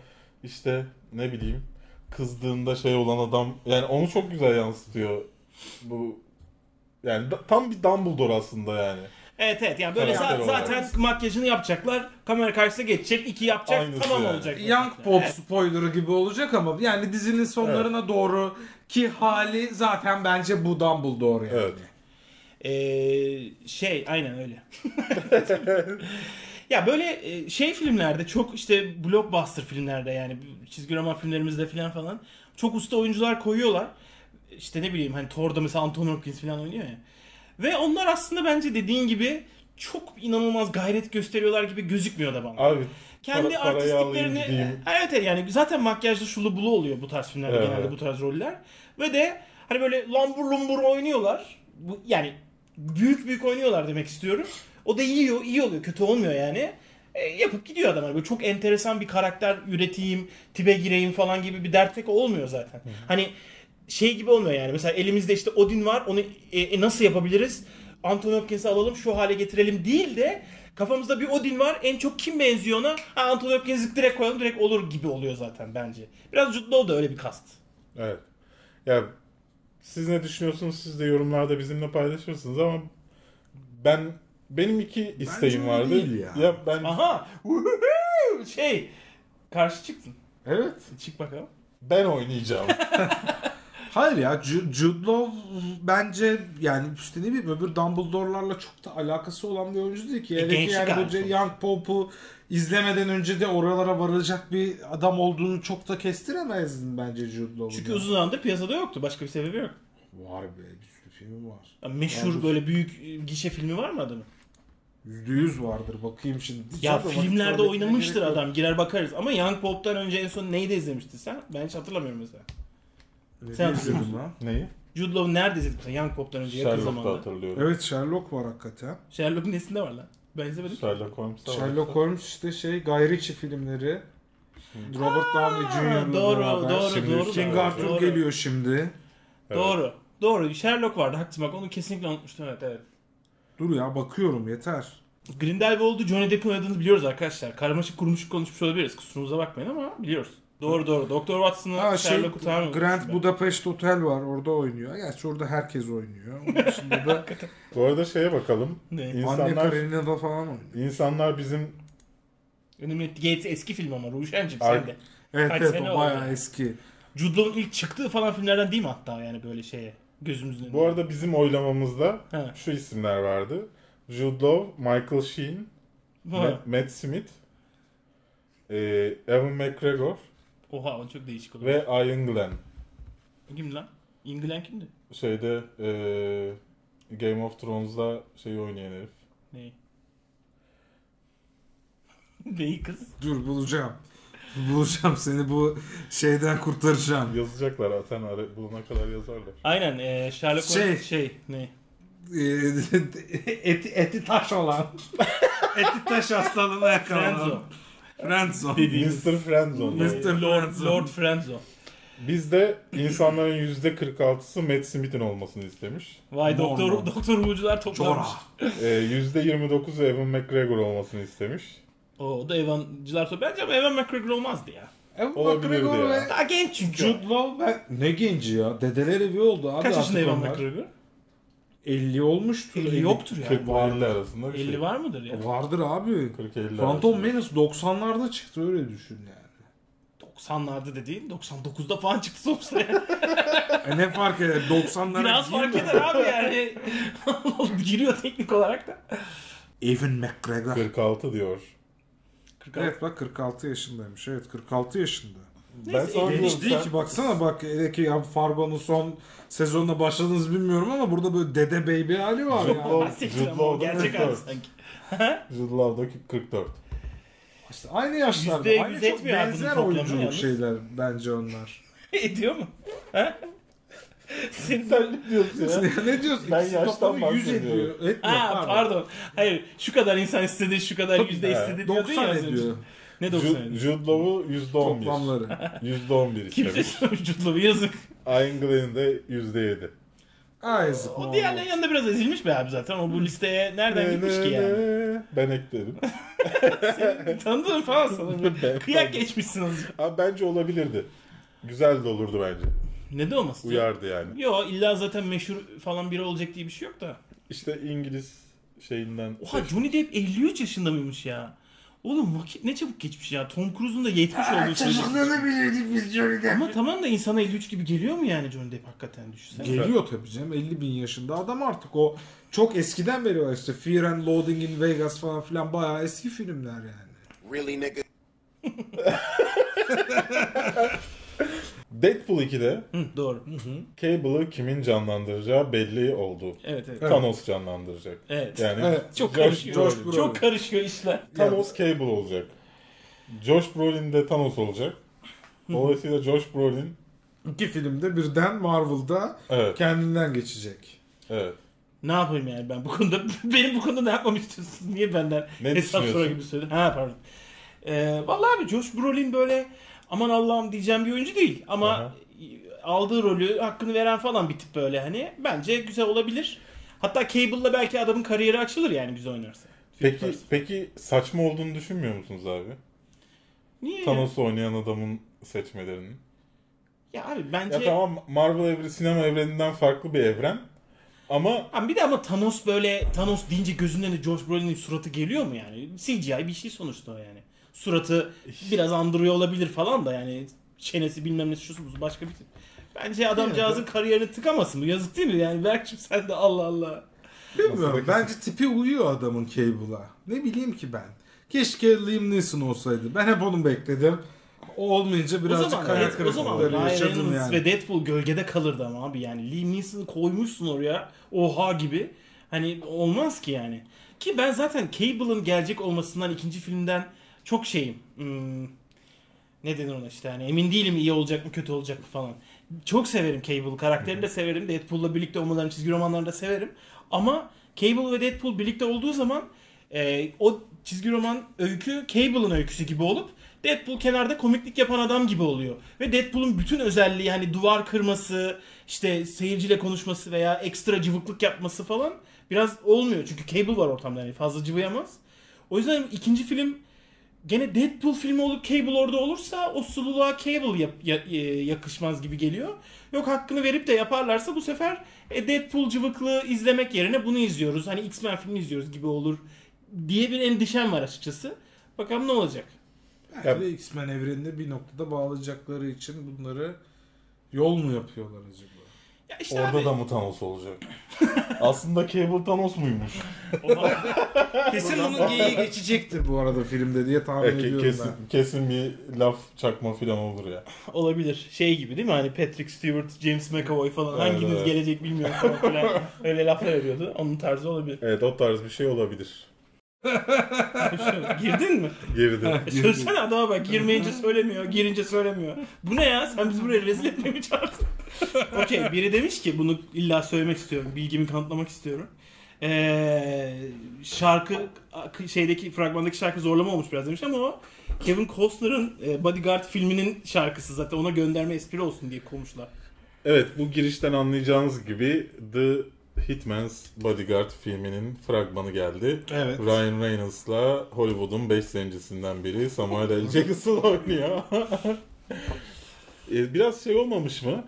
işte ne bileyim kızdığında şey olan adam yani onu çok güzel yansıtıyor bu yani da- tam bir Dumbledore aslında yani. Evet evet yani böyle Karakter za- olarak. zaten makyajını yapacaklar. Kamera karşısına geçecek. iki yapacak. Aynısı tamam yani. olacak. Young Evet. Pop spoiler'ı gibi olacak ama yani dizinin sonlarına doğru ki hali zaten bence bu Dumbledore yani. Evet. Ee, şey aynen öyle. ya böyle e, şey filmlerde çok işte blockbuster filmlerde yani çizgi roman filmlerimizde filan falan çok usta oyuncular koyuyorlar. İşte ne bileyim hani Thor'da mesela Anton Hopkins filan oynuyor ya. Ve onlar aslında bence dediğin gibi çok inanılmaz gayret gösteriyorlar gibi gözükmüyor da bana. Abi Kendi para- parayı alayım artistliklerini gideyim. evet evet, yani zaten makyajlı şulu bulu oluyor bu tarz filmlerde Evet. genelde bu tarz roller. Ve de hani böyle lambur lumbur oynuyorlar. Bu, yani büyük büyük oynuyorlar demek istiyorum. O da iyi, iyi oluyor. Kötü olmuyor yani. E, yapıp gidiyor adam. Hani Böyle çok enteresan bir karakter üreteyim, tipe gireyim falan gibi bir dert pek olmuyor zaten. Hani şey gibi olmuyor yani. Mesela elimizde işte Odin var. Onu e, e, nasıl yapabiliriz? Anthony Hopkins'i alalım şu hale getirelim değil de kafamızda bir Odin var. En çok kim benziyor ona? Ha, Anthony Hopkins'i direkt koyalım direkt olur gibi oluyor zaten bence. Biraz Jude Law da öyle bir kast. Evet. Ya siz ne düşünüyorsunuz? Siz de yorumlarda bizimle paylaşırsınız ama ben benim iki isteğim öyle vardı. değil ya. ya ben Aha! Woohoo! Şey karşı çıktın. Evet. Çık bakalım. ben oynayacağım. Hayır ya Ju- Jude Law bence yani işte ne bileyim öbür Dumbledore'larla çok da alakası olan bir oyuncu değil ki. Hele ki E, gençlik yani abi bu sonuçta. Young Pop'u izlemeden önce de oralara varacak bir adam olduğunu çok da kestiremezdin bence Jude Law'un. Çünkü ya. uzun zamandır piyasada yoktu. Başka bir sebebi yok. Var be bir sürü filmi var. Ya Meşhur Vardır. böyle büyük e, gişe filmi var mı adamın? Yüzde yüz vardır bakayım şimdi. Ya Çok da vakit filmlerde kaybetmeye oynamıştır gerek yok. adam. Girer bakarız. Ama Young Pop'tan önce en son neyi de izlemiştin sen? Ben hiç hatırlamıyorum mesela. Ne izledin Sen hatırlıyorsun. lan? Neyi? Jude Law nerede izledik mesela Young Pop'tan önce yakın Sherlock'ta zamanda? hatırlıyorum. Evet Sherlock var hakikaten. Sherlock nesinde var lan? Ben izlemedim. ki. Sherlock Holmes'ta Sherlock Holmes işte şey Guy Ritchie filmleri. Robert Downey Jr. 'la doğru, beraber. doğru, Şimdi doğru, King doğru, Arthur doğru. geliyor şimdi. Evet. Doğru. Doğru. Sherlock vardı. Haklısın bak onu kesinlikle unutmuştum. Evet evet. Dur ya bakıyorum yeter. Grindelwald'u Johnny Depp'in oynadığını biliyoruz arkadaşlar. Karmaşık kurmuşuk konuşmuş olabiliriz. Kusurumuza bakmayın ama biliyoruz. Doğru doğru. Doktor Ha Watson'ı şey Sherlock'u tamam unutmuşum Grand ben. Budapest Hotel var orada oynuyor. Gerçi orada herkes oynuyor. Onun dışında da Bu arada şeye bakalım. Ne? Anne İnsanlar Karenina'da falan oynuyor. insanlar bizim Önümde Gates eski film ama Ruşen'cim Ar- sen de. Evet Kaç evet sene o oldu? bayağı eski. Jude Law'un ilk çıktığı falan filmlerden değil mi hatta yani böyle şeye gözümüzün önünde. bu arada bizim oylamamızda Ha. şu isimler vardı. Jude Law, Michael Sheen, Ha. Ma- Matt Smith, e, Evan McGregor Oha o çok değişik oldu. ve Ian Glenn. Kim lan? İngilizce kimdi? Şeyde e, Game of Thrones'da şey oynayan herif. Neyi? Neyi kız? Dur bulacağım. Bulacağım seni bu şeyden kurtaracağım. Yazacaklar zaten ara, bulana kadar yazarlar. Aynen e, Sherlock Şey. Holmes şey ne? Ee, eti, eti taş olan. eti taş hastalığına Frenzo. yakalanan. Friendzone. Dediğimiz. Mr. Friendzone. Mr. Lord, Frenzo. Lord Frenzo. Biz de insanların %46'sı Matt Smith'in olmasını istemiş. Vay Normal. doktor doktor Who'cular Çora. toplanmış. E, %29'u Evan McGregor olmasını istemiş. O da Evancılar toplanmış. Bence ama Evan McGregor olmazdı ya. Evan Olabilirdi McGregor ya. ve Daha genç çünkü. o. Jude Law ve... Ne genci ya? Dedeler evi oldu abi. Kaç yaşında artık Evan onlar. McGregor? 50 olmuştur. 50 yoktur yani. 40 ile 50 arasında bir 50 şey. var mıdır ya? Vardır abi. 40 50 Phantom arasında. Menace 90'larda çıktı öyle düşün yani. 90'larda dediğin 99'da falan çıktı sonuçta yani. E ne fark eder 90'lara Biraz fark girme. eder abi yani. Giriyor teknik olarak da. Evan McGregor. 46 diyor. 46. Evet bak 46 yaşındaymış. Evet 46 yaşında. ben Neyse, sana Hiç diyorum, değil sen- ki baksana bak hele ki ya Fargo'nun son sezonuna başladınız bilmiyorum ama burada böyle dede baby hali var Jude ya. Law- Siktir Jude ama o Law'da gerçek 44. abi sanki. Jude Law'daki 44. İşte aynı yaşlarda. Yüzde Aynı yüz çok etmiyor abi bunun benzer toplamı oyunculuk yalnız. şeyler bence onlar. Ediyor mu? Ha? Senin Sen ne diyorsun ya? ne diyorsun? Ben İkisi yaştan toplamı 100 bahsediyorum. ediyor. Etmiyor. Ha pardon. Hayır şu kadar insan istedi şu kadar Tabii, yüzde ha. istedi diyordun ya 90 az önce. ediyor Ne 90 Jude, ediyor? Jude Law'u %11. toplamları. %11 Kimse istemiş. sonucutlu bir yazık. Ian Glen'in de %7. Isaac O Mall. diğerlerin yanında biraz ezilmiş be abi zaten. O bu listeye nereden gitmiş ki yani? Ne? Ben ekledim. Tanıdığın falan sana. Ben- Kıyak geçmişsin azıcık. Abi bence olabilirdi. Güzel de olurdu bence. Ne de olmasın. Uyardı yani. Yo illa zaten meşhur falan biri olacak diye bir şey yok da. İşte İngiliz şeyinden. Oha Johnny Depp 53 yaşında mıymış ya? Oğlum vakit ne çabuk geçmiş ya. Tom Cruise'un da 70 olduğu söyleniyor. bilirdik biz Johnny'de. Ama tamam da insana 53 gibi geliyor mu yani Johnny Depp hakikaten düşünsene. Geliyor tabii canım 50 bin yaşında adam artık o çok eskiden beri var işte Fear and Loathing in Vegas falan filan bayağı eski filmler yani. Really, nigga? Deadpool 2'de Hı, doğru. Cable'ı kimin canlandıracağı belli oldu. Evet evet. Thanos canlandıracak. Evet. Yani Evet. Çok Josh- karışıyor. Josh Brolin. Çok karışıyor işler. Thanos Cable olacak. Josh Brolin de Thanos olacak. Dolayısıyla Josh Brolin İki filmde birden Marvel'da evet, kendinden geçecek. evet. Ne yapayım yani ben bu konuda? Benim bu konuda ne yapmamı istiyorsunuz? Niye benden Ne hesap sorar düşünüyorsun? gibi söyledin? Ha pardon. Ee, vallahi abi Josh Brolin böyle aman Allah'ım diyeceğim bir oyuncu değil. Ama Aha. aldığı rolü hakkını veren falan bir tip böyle hani. Bence güzel olabilir. Hatta Cable'la belki adamın kariyeri açılır yani güzel oynarsa. Peki peki saçma olduğunu düşünmüyor musunuz abi? Niye? Thanos'u oynayan adamın seçmelerinin. Ya abi Ya bence... tamam Marvel evreni sinema evreninden farklı bir evren. Ama Abi bir de ama Thanos böyle Thanos deyince gözünden de Josh Brolin'in suratı geliyor mu yani? CGI bir şey sonuçta o yani. Suratı biraz andırıyor olabilir falan da yani çenesi bilmem nesi şusu busu başka bir tip. Bence adamcağızın kariyerini tıkamasın bu yazık değil mi? Yani Berk'cim sen de Allah Allah. Bilmiyorum Masadaki- bence tipi uyuyor adamın Cable'a. Ne bileyim ki ben. Keşke Liam Neeson olsaydı. Ben hep onu bekledim. O olmayınca o birazcık zaman, kalp evet, o zaman kırıklıkları Ryan yaşadım Reynolds yani. ve Deadpool gölgede kalırdı ama abi yani Liam Neeson'ı koymuşsun oraya oha gibi. Hani olmaz ki yani. Ki ben zaten Cable'ın gelecek olmasından ikinci filmden çok şeyim. Hmm, ne denir ona işte hani emin değilim iyi olacak mı kötü olacak mı falan. Çok severim Cable karakterini de severim. Deadpool'la birlikte olmalarını çizgi romanlarını da severim. Ama Cable ve Deadpool birlikte olduğu zaman e, o çizgi roman öykü Cable'ın öyküsü gibi olup Deadpool kenarda komiklik yapan adam gibi oluyor. Ve Deadpool'un bütün özelliği hani duvar kırması, işte seyirciyle konuşması veya ekstra cıvıklık yapması falan biraz olmuyor. Çünkü Cable var ortamda yani fazla cıvıyamaz. O yüzden ikinci film gene Deadpool filmi olup Cable orada olursa o sululuğa Cable yap- ya- e, yakışmaz gibi geliyor. Yok hakkını verip de yaparlarsa bu sefer e, Deadpool cıvıklığı izlemek yerine bunu izliyoruz. Hani X-Men filmi izliyoruz gibi olur diye bir endişem var açıkçası. Bakalım ne olacak. Belki de X-Men evrenine bir noktada bağlayacakları için bunları yol mu yapıyorlar acaba? Ya işte orada abi, da mı Thanos olacak? Aslında Cable Thanos muymuş? Kesin bunun geyiği geçecektir bu arada filmde diye tahmin E, Ke- ediyorum kesin, kesin bir laf çakma falan olur ya. olabilir. Şey gibi değil mi? Hani Patrick Stewart, James McAvoy falan Evet, hanginiz evet. gelecek bilmiyorum falan filan. Öyle laflar ediyordu. Onun tarzı olabilir. Evet o tarz bir şey olabilir. Girdin mi? Geride. ben. E, Söylesene adama bak girmeyince söylemiyor, girince söylemiyor. Bu ne ya? Sen bizi buraya rezil etmeye mi çağırdın? Okey, biri demiş ki bunu illa söylemek istiyorum, bilgimi kanıtlamak istiyorum. Ee, şarkı şeydeki fragmandaki şarkı zorlama olmuş biraz demiş ama o Kevin Costner'ın e, Bodyguard filminin şarkısı zaten ona gönderme espri olsun diye koymuşlar. Evet bu girişten anlayacağınız gibi The Hitman's Bodyguard filminin fragmanı geldi. Evet. Ryan Reynolds'la Hollywood'un 5 zencisinden biri Samuel L. Jackson oynuyor. E, Biraz şey olmamış mı?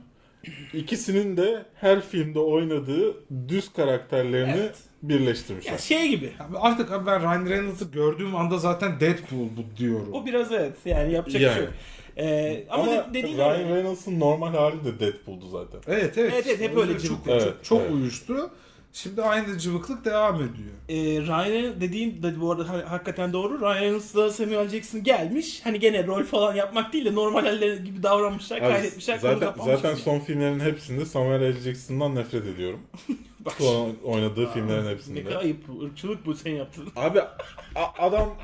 İkisinin de her filmde oynadığı düz karakterlerini Evet. birleştirmişler. Ya şey gibi. Abi Artık abi ben Ryan Reynolds'ı gördüğüm anda zaten Deadpool bu diyorum. O biraz evet yani yapacak bir şey yok. Ee, ama, Ama, de- dediğin gibi- Ryan Reynolds'ın normal hali de Deadpool'du zaten. Evet evet. Evet, evet, hep O öyle yüzden çok, cıvık. çok, Evet, çok evet. uyuştu. Şimdi aynı cıvıklık devam ediyor. Ee, Ryan Reynolds dediğin de bu arada hani hakikaten doğru. Ryan Reynolds'la Samuel Jackson gelmiş. Hani gene rol falan yapmak değil de normal halleri gibi davranmışlar, Abi, kaydetmişler. konu zaten kapanmış zaten gibi. son filmlerin hepsinde Samuel L. Jackson'dan nefret ediyorum. Bak, Son oynadığı filmlerin ne hepsinde. kadar ayıp bu. Irkçılık bu sen yaptın. Abi a- adam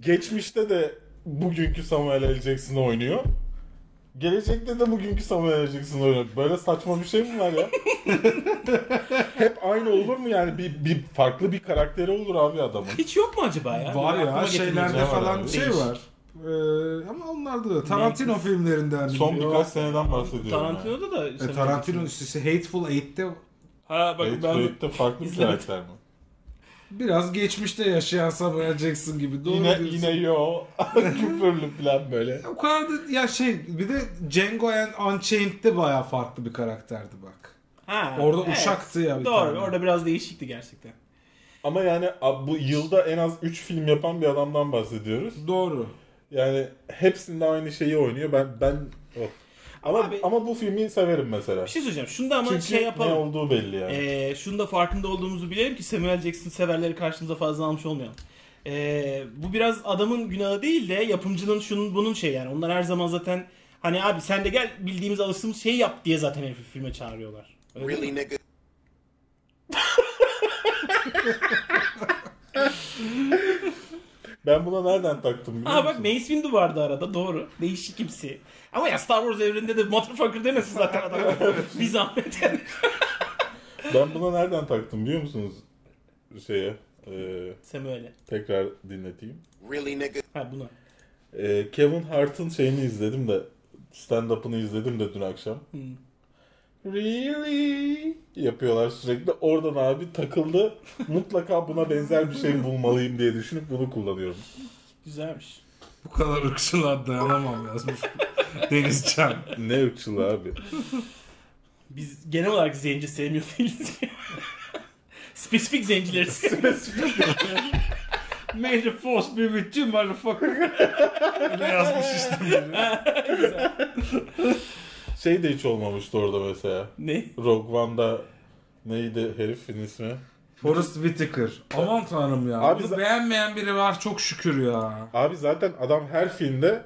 geçmişte de bugünkü Samuel L. Jackson'ı oynuyor. Gelecekte de bugünkü Samuel L. Jackson'ı oynuyor. Böyle saçma bir şey mi var ya? Hep aynı olur mu yani? Bir, bir farklı bir karakteri olur abi adamın. Hiç yok mu acaba ya? Var Böyle ya şey- aklıma şeylerde getirmeyeceğim. var falan abi. şey Değişik. var. Ee, ama onlarda da Tarantino filmlerinden Son biliyor. birkaç seneden bahsediyorum. yani. Tarantino'da da E, Samuel Tarantino Jackson. işte Hateful Eight'te Ha bak Eight ben Blade'de farklı bir İzlemedim. karakter mi? biraz geçmişte yaşayan Samuel Jackson gibi. Doğru yine diyorsun. yine yo. Küfürlü falan böyle. O kadar da ya şey bir de Django and Unchained'de bayağı farklı bir karakterdi bak. ha, Orada evet. uşaktı ya bir Doğru tane. orada biraz değişikti gerçekten. Ama yani ab- bu yılda en az 3 film yapan bir adamdan bahsediyoruz. Doğru. Yani hepsinde aynı şeyi oynuyor. Ben ben oh. Ama Abi- ama bu filmi severim mesela. Bir şey söyleyeceğim. Şunu da ama Çünkü şey ne yapalım. olduğu belli yani. Ee, şunu da farkında olduğumuzu bilelim ki Samuel Jackson severleri karşımıza fazla almış olmayalım. Ee, bu biraz adamın günahı değil de yapımcının şunun bunun şey yani. Onlar her zaman zaten hani abi sen de gel bildiğimiz alıştığımız şeyi yap diye zaten herifi filme çağırıyorlar. Öyle değil mi? Really, nigga? Ben buna nereden taktım biliyor Aa bak musun? Mace Windu vardı arada doğru. Değişik kimsi. Ama ya Star Wars evreninde de motherfucker demesin zaten adam. Bir zahmet yani. Ben buna nereden taktım biliyor musunuz? Şeye e, Samuel'e. tekrar dinleteyim. Really, nigga? Ha bunu. E, Kevin Hart'ın şeyini izledim de stand-up'ını izledim de dün akşam. Hmm. Really yapıyorlar sürekli. Oradan abi takıldı. Mutlaka buna benzer bir şey bulmalıyım diye düşünüp bunu kullanıyorum. Güzelmiş. Bu kadar ırkçılığa dayanamam yazmış Denizcan. Ne ırkçılığı abi. Biz genel olarak zenci sevmiyor değiliz. Spesifik zencileri seviyoruz. May the force be with you motherfucker. Öyle yazmış işte biri. Şey de hiç olmamıştı orada mesela. ne? Rogue One'da neydi herifin ismi? Forrest Whitaker. Aman tanrım ya. Abi Bunu za- beğenmeyen biri var çok şükür ya. Abi zaten adam her filmde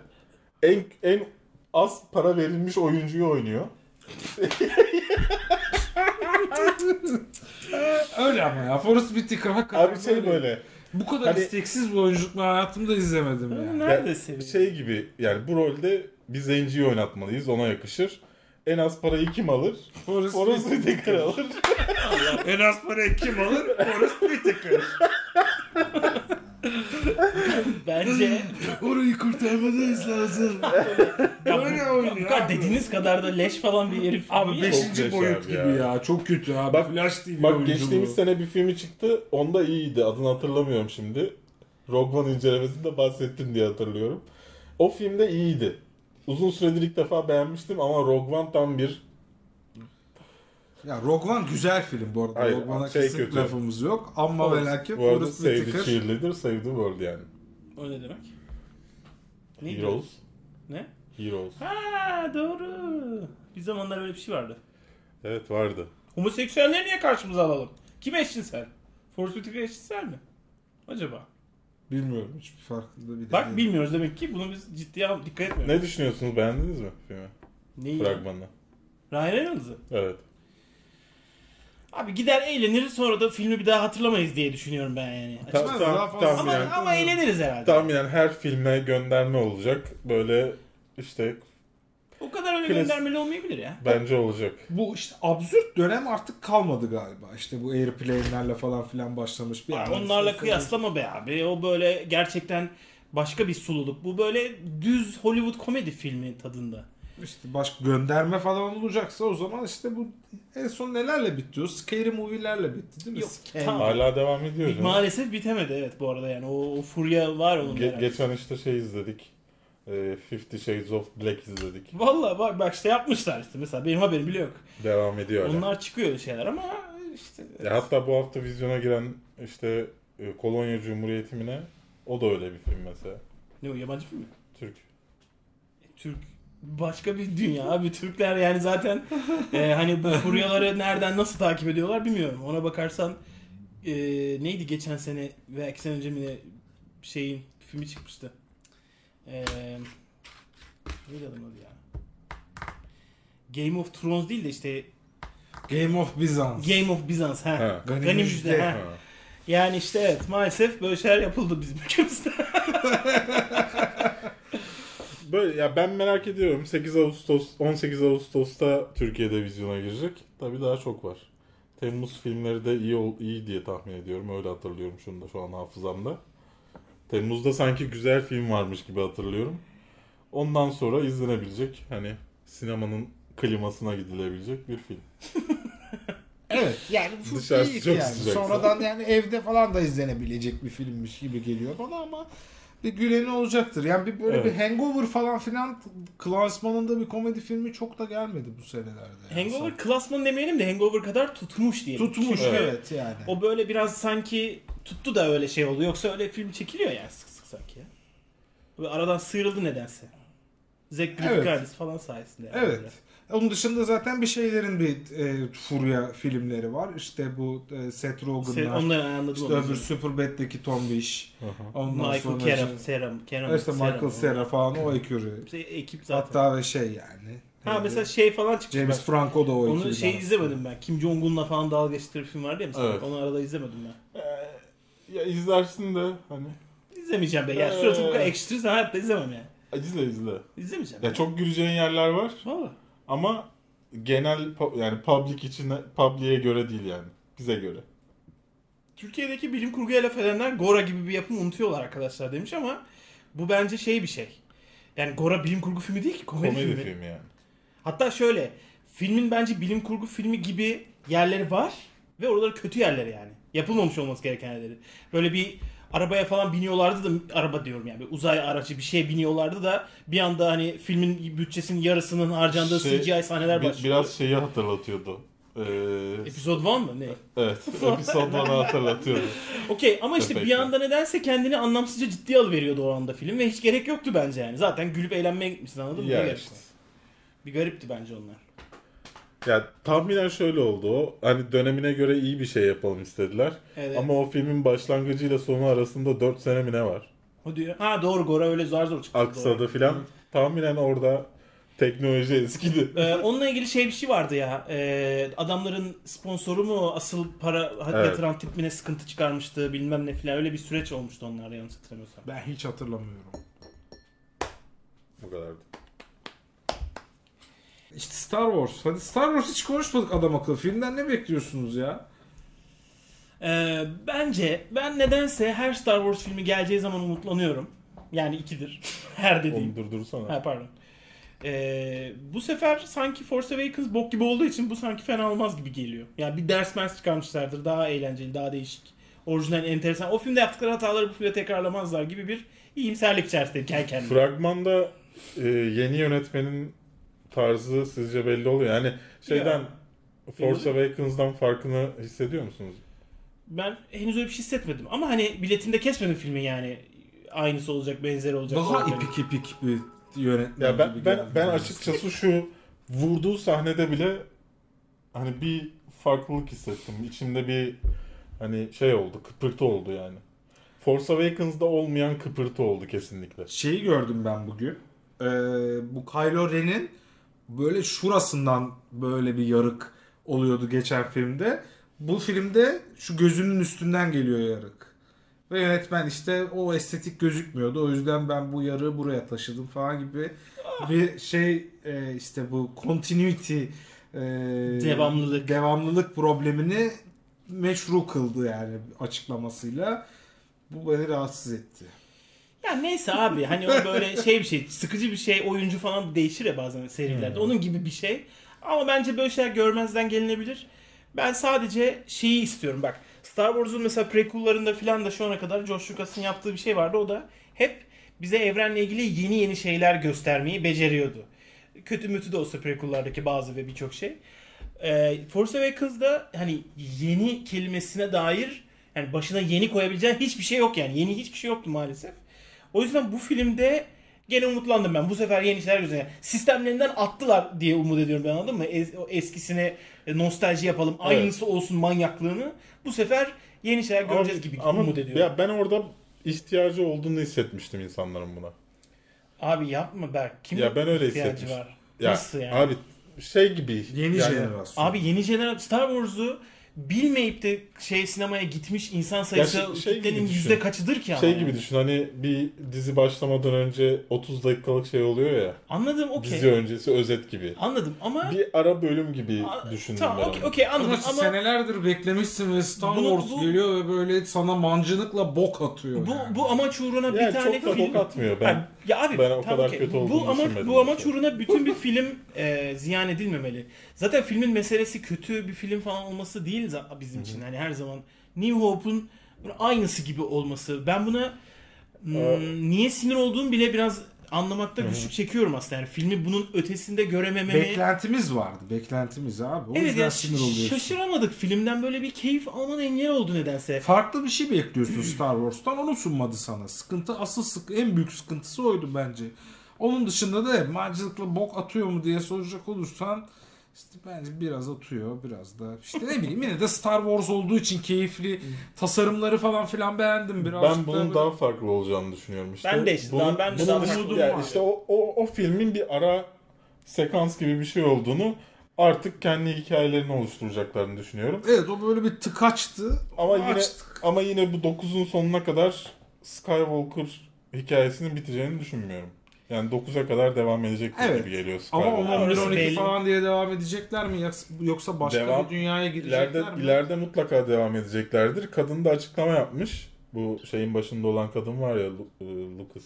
en en az para verilmiş oyuncuyu oynuyor. Öyle ama ya. Forrest Whitaker hakikaten Abi şey böyle Bu kadar Hani- isteksiz bir oyunculuk ben hayatımda izlemedim ya. Nerede Ya, seviyor? şey gibi yani bu rolde bir zenciyi oynatmalıyız ona yakışır. En az parayı kim alır? Forrest, Orası Whitaker alır. En az parayı kim alır? Forrest Whitaker. Bence Orayı kurtarmadayız lazım. ya, bu- Böyle bu, oynuyor kadar abi. dediğiniz kadar da leş falan bir herif. Abi değil. 5. leş boyut abi gibi ya. ya. Çok kötü abi. Bak- Flash TV Bak oyunculuğu. geçtiğimiz sene bir filmi çıktı. Onda iyiydi. Adını hatırlamıyorum şimdi. Rogue One incelemesinde bahsettin diye hatırlıyorum. O filmde iyiydi. Uzun süredir ilk defa beğenmiştim ama Rogue One tam bir Ya Rogue One güzel film bu arada. Hayır, Rogue One'a şey kesin kötü. lafımız yok. Ama ve lakin bu arada Forrest Save the Whitaker. Cheerleader, Save the World yani. O ne demek? Ne? Heroes. Ne? Heroes. Ha doğru. Bir zamanlar öyle bir şey vardı. Evet vardı. Homoseksüelleri niye karşımıza alalım? Kim eşcinsel? Forrest Whitaker eşcinsel mi? Acaba? Bilmiyorum hiçbir farkında bile Bak değilim. bilmiyoruz demek ki bunu biz ciddiye al- dikkat etmiyoruz. Ne düşünüyorsunuz? Beğendiniz mi filmi? Neyi? Fragmanı. Ryan Reynolds'ı. Evet. Abi gider eğlenir sonra da filmi bir daha hatırlamayız diye düşünüyorum ben yani. Ta- Açmaz, tam- daha fazla- Ama, tahminen, ama eğleniriz herhalde. tahminen her filme gönderme olacak. Böyle işte O kadar öyle Klas- göndermeli olmayabilir ya. bence olacak. Bu işte absürt dönem artık kalmadı galiba. İşte bu airplane'lerle falan filan başlamış bir Abi yandan onlarla işte- kıyaslama be abi. O böyle gerçekten başka bir sululuk. Bu böyle düz Hollywood komedi filmi tadında. İşte başka gönderme falan olacaksa o zaman işte bu en son nelerle bitiyor? Scary movie'lerle bitti değil mi? Yok, Scary. tamam. Hala devam ediyor. canım. Maalesef bitemedi evet bu arada yani. O, o furya var onun Ge- herhalde. geçen işte şey izledik. E, Fifty Shades of Black izledik. Vallahi bak bak işte yapmışlar işte mesela benim haberim bile yok. Devam ediyor hala. Onlar çıkıyor öyle şeyler ama işte Ya hatta bu hafta vizyona giren işte e, Kolonya Cumhuriyeti mi ne? O da öyle bir film mesela. ne o yabancı film mi? Türk. Türk başka bir dünya abi Türkler yani zaten e, hani bu furyaları nereden nasıl takip ediyorlar bilmiyorum. Ona bakarsan e, neydi geçen sene veya iki sene önce mi ne şeyin filmi çıkmıştı. E, neydi adamın adı ya? Game of Thrones değil de işte Game of Bizans. Game of Bizans. Ha. Ha. Ganim Ganim Müjde, Müjde. ha. Ha. Yani işte evet maalesef böyle şeyler yapıldı bizim ülkemizde. Böyle ya ben merak ediyorum. 8 Ağustos 18 Ağustos'ta Türkiye'de vizyona girecek. Tabii daha çok var. Temmuz filmleri de iyi ol- iyi diye tahmin ediyorum. Öyle hatırlıyorum şunu da şu an hafızamda. Temmuz'da sanki güzel film varmış gibi hatırlıyorum. Ondan sonra izlenebilecek hani sinemanın klimasına gidilebilecek bir film. Evet yani bu Dışarısı iyi çok yani. sıcak. Sonradan yani evde falan da izlenebilecek bir filmmiş gibi geliyor bana ama bir güleni olacaktır. Yani bir böyle bir Evet. Hangover falan filan klasmanında bir komedi filmi çok da gelmedi bu senelerde. yani. Hangover klasman demeyelim de Hangover kadar tutmuş diyelim. tutmuş Çünkü evet, Evet. yani. O böyle biraz sanki tuttu da öyle şey oldu. Yoksa öyle film çekiliyor yani sık sık sanki ya. Ve aradan sıyrıldı nedense. Zack Evet. Galifianakis falan sayesinde. yani. Evet. Onun dışında zaten bir şeylerin bir e, furya filmleri var. İşte bu e, Seth Sen Rogen'lar. onları anladım. İşte öbür Superbad'deki Tombiş. Ondan Michael sonra Keram, Seram, Keram. işte, işte Michael Cera falan o ekürü. Ekip zaten. Hatta ve şey yani. ha neydi? mesela şey falan çıktı. James bak. Franco da o ekürü. Onu şey izlemedim ben. Kim Jong-un'la falan dalga geçtiği bir film vardı ya mesela. Evet. Onu arada izlemedim ben. Ya izlersin de hani İzlemeyeceğim ben. Yani suratı bu kadar Ee. ekşitirsen hayatta izlemem yani. izle izle. İzlemeyeceğim. Ya ben. çok güleceğin yerler var. Valla. Ama genel pu- yani public için public'e göre değil yani. Bize göre. Türkiye'deki bilim kurguya laf edenler Gora gibi bir yapım unutuyorlar arkadaşlar demiş ama bu bence şey bir şey. Yani Gora bilim kurgu filmi değil ki komedi, Komedi filmi. filmi, yani. Hatta şöyle filmin bence bilim kurgu filmi gibi yerleri var ve oraları kötü yerleri yani. Yapılmamış olması gereken yerleri. Böyle bir arabaya falan biniyorlardı da araba diyorum yani bir uzay aracı bir şeye biniyorlardı da bir anda hani filmin bütçesinin yarısının harcandığı Şey, CGI sahneler Bi- başlıyor. biraz şeyi hatırlatıyordu. Ee, Episode 1 mı ne? evet. Episode 1'ı hatırlatıyordu. Okey ama işte bir Perfect. anda nedense kendini anlamsızca ciddiye alıveriyordu o anda film ve hiç gerek yoktu bence yani. Zaten gülüp eğlenmeye gitmişsin anladın mı? Ne Ya gerek işte. var? Bir garipti bence onlar. Ya tahminen şöyle oldu o. Hani dönemine göre iyi bir şey yapalım istediler. Evet. Ama o filmin başlangıcıyla sonu arasında 4 sene mi ne var? O diyor. Ha doğru Gora öyle zar zor çıktı. doğru. Aksadı filan. Tahminen orada teknoloji eskidi. Ee, onunla ilgili şey bir şey vardı ya. Ee, adamların sponsoru mu asıl para Evet. yatıran tip mi ne sıkıntı çıkarmıştı bilmem ne filan. Öyle bir süreç olmuştu onlarla yanlış hatırlamıyorsam. Ben hiç hatırlamıyorum. Bu kadardı. İşte Star Wars. Hadi Star Wars hiç konuşmadık adam akıllı. Filmden ne bekliyorsunuz ya? Ee, bence ben nedense her Star Wars filmi geleceği zaman umutlanıyorum. Yani ikidir. her dediğim. Onu durdursana. Ha pardon. Ee, bu sefer sanki Force Awakens bok gibi olduğu için bu sanki fena olmaz gibi geliyor. Yani bir ders mers çıkarmışlardır. Daha eğlenceli, daha değişik. Orijinal, enteresan. O filmde yaptıkları hataları bu filmde tekrarlamazlar gibi bir iyimserlik içerisinde kendi kendine. Fragmanda e, yeni yönetmenin tarzı sizce belli oluyor. Yani şeyden Ya. Force Awakens'dan farkını hissediyor musunuz? Ben henüz öyle bir şey hissetmedim. Ama hani biletimde kesmedim filmi yani. Aynısı olacak, benzeri olacak. Daha olacak. ipik ipik bir yönetmen Ya ben gibi ben geldi ben bana. açıkçası şu vurduğu sahnede bile hani bir farklılık hissettim. İçimde bir hani şey oldu, kıpırtı oldu yani. Force Awakens'da olmayan kıpırtı oldu kesinlikle. Şeyi gördüm ben bugün. Ee, bu Kylo Ren'in böyle şurasından böyle bir yarık oluyordu geçen filmde. Bu filmde şu gözünün üstünden geliyor yarık. Ve yönetmen işte o estetik gözükmüyordu. O yüzden ben bu yarığı buraya taşıdım falan gibi bir şey e, işte bu continuity e, Devamlılık. devamlılık problemini meşru kıldı yani açıklamasıyla. Bu beni rahatsız etti. Ya neyse abi hani o böyle şey bir şey sıkıcı bir şey oyuncu falan değişir ya bazen serilerde onun gibi bir şey. Ama bence böyle şeyler görmezden gelinebilir. Ben sadece şeyi istiyorum bak Star Wars'un mesela prequel'larında falan da şu ana kadar George Lucas'ın yaptığı bir şey vardı. O da hep bize evrenle ilgili yeni yeni şeyler göstermeyi beceriyordu. Kötü mütü de olsa prequel'lardaki bazı ve birçok şey. Ee, Force Awakens'da hani yeni kelimesine dair yani başına yeni koyabileceğin hiçbir şey yok yani. Yeni hiçbir şey yoktu maalesef. O yüzden bu filmde Gene umutlandım ben. Bu sefer yeni şeyler gözüküyor. Yani Sistemlerinden attılar diye umut ediyorum ben anladın mı? Es- o eskisine e, nostalji yapalım. Aynısı olsun manyaklığını. Bu sefer yeni şeyler Şey göreceğiz gibi Ama umut ediyorum. ya ben orada ihtiyacı olduğunu hissetmiştim insanların buna. Abi yapma Berk. Kim Ya ben öyle ihtiyacı hissetmiştim. var? Ya, Nasıl yani? Abi şey gibi. Yeni yani, jenerasyon. Abi yeni jenerasyon Star Wars'u bilmeyip de şey sinemaya gitmiş insan Ya sayısı şey- şey gibi kitlenin düşün. yüzde kaçıdır ki ama Şey yani? gibi düşün hani bir dizi başlamadan önce 30 dakikalık şey oluyor ya. Anladım okey. Dizi öncesi özet gibi. Anladım ama Bir ara bölüm gibi A- düşündüm ben Tamam okey onu. okey anladım Ama ama senelerdir beklemişsin ve Star Bunu- Wars bu- geliyor ve böyle sana mancınıkla bok atıyor. bu yani. bu amaç uğruna Yani bir tane çok da film bok atmıyor ben. Ha, ya abi ben o tamam, kadar okey. kötü bu olduğunu ama düşünmedim bu amaç mesela. uğruna bütün bir film e, ziyan edilmemeli. Zaten filmin meselesi kötü bir film falan olması değil za- bizim için. Hani her zaman New Hope'un böyle aynısı gibi olması. Ben buna m, niye sinir olduğum bile biraz anlamakta güçlük çekiyorum aslında. Yani filmi bunun ötesinde göremememi Beklentimiz vardı. Beklentimiz abi. O Evet yüzden ya sinir oluyorsun. şaşıramadık filmden böyle bir keyif alman engel oldu nedense. Farklı bir şey bekliyorsun Star Wars'tan. Onu sunmadı sana. Sıkıntı asıl sık en büyük sıkıntısı oydu bence. Onun dışında da hep mancınıkla bok atıyor mu diye soracak olursan işte bence biraz atıyor biraz da işte ne bileyim yine de Star Wars olduğu için keyifli tasarımları falan filan beğendim biraz. Ben bunun daha farklı olacağını düşünüyorum işte. Ben de işte, daha- ben de bunun daha dış- umudum yani var. işte o, o, o filmin bir ara sekans gibi bir şey olduğunu artık kendi hikayelerini oluşturacaklarını düşünüyorum. Evet o böyle bir tıkaçtı. Ama yine Açtık. ama yine bu 9'un sonuna kadar Skywalker hikayesinin biteceğini düşünmüyorum. Yani 9'a kadar devam edecek Evet. gibi geliyor Ama 10, Skywalker. 11, Orası 12 belli. falan diye devam edecekler mi Yaks- yoksa başka Devam- bir dünyaya girecekler İleride, mi? ileride mutlaka devam edeceklerdir. Kadın da açıklama yapmış. Bu şeyin başında olan kadın var ya Lu- e, Lucas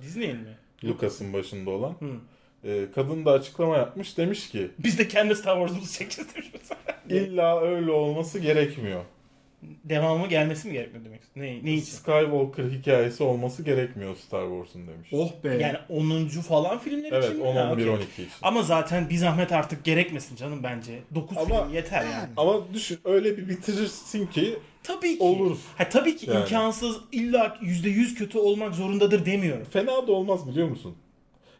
Disney'in mi? Lucas'ın başında olan. Hı. E, kadın da açıklama yapmış. Demiş ki Biz de kendi Star Wars'umuzu çekeceğiz demiş mesela. illa öyle olması gerekmiyor. Devamı gelmesi mi gerekmiyor demek? Ne, ne için? Skywalker hikayesi olması gerekmiyor Star Wars'un demiş. Oh be. Yani 10. falan filmler evet için 10 mi? Ha, 11 okey. 12 için. Ama zaten bir zahmet artık gerekmesin canım bence. 9 Ama- film yeter yani. Ama düşün öyle bir bitirirsin ki Tabii ki. olur. Ha, tabii ki Yani. imkansız illa %100 kötü olmak zorundadır demiyorum. Fena da olmaz biliyor musun?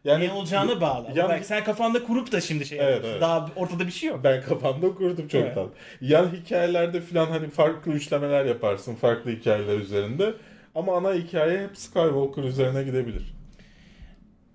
Yani ne olacağına bağlı. yani- Belki sen kafanda kurup da şimdi şey Evet, yapıyorsun. evet. Daha ortada bir şey yok. ben kafamda kurdum çoktan. Yan hikayelerde falan hani farklı üçlemeler yaparsın farklı hikayeler üzerinde. Ama ana hikaye hep Skywalker üzerine gidebilir.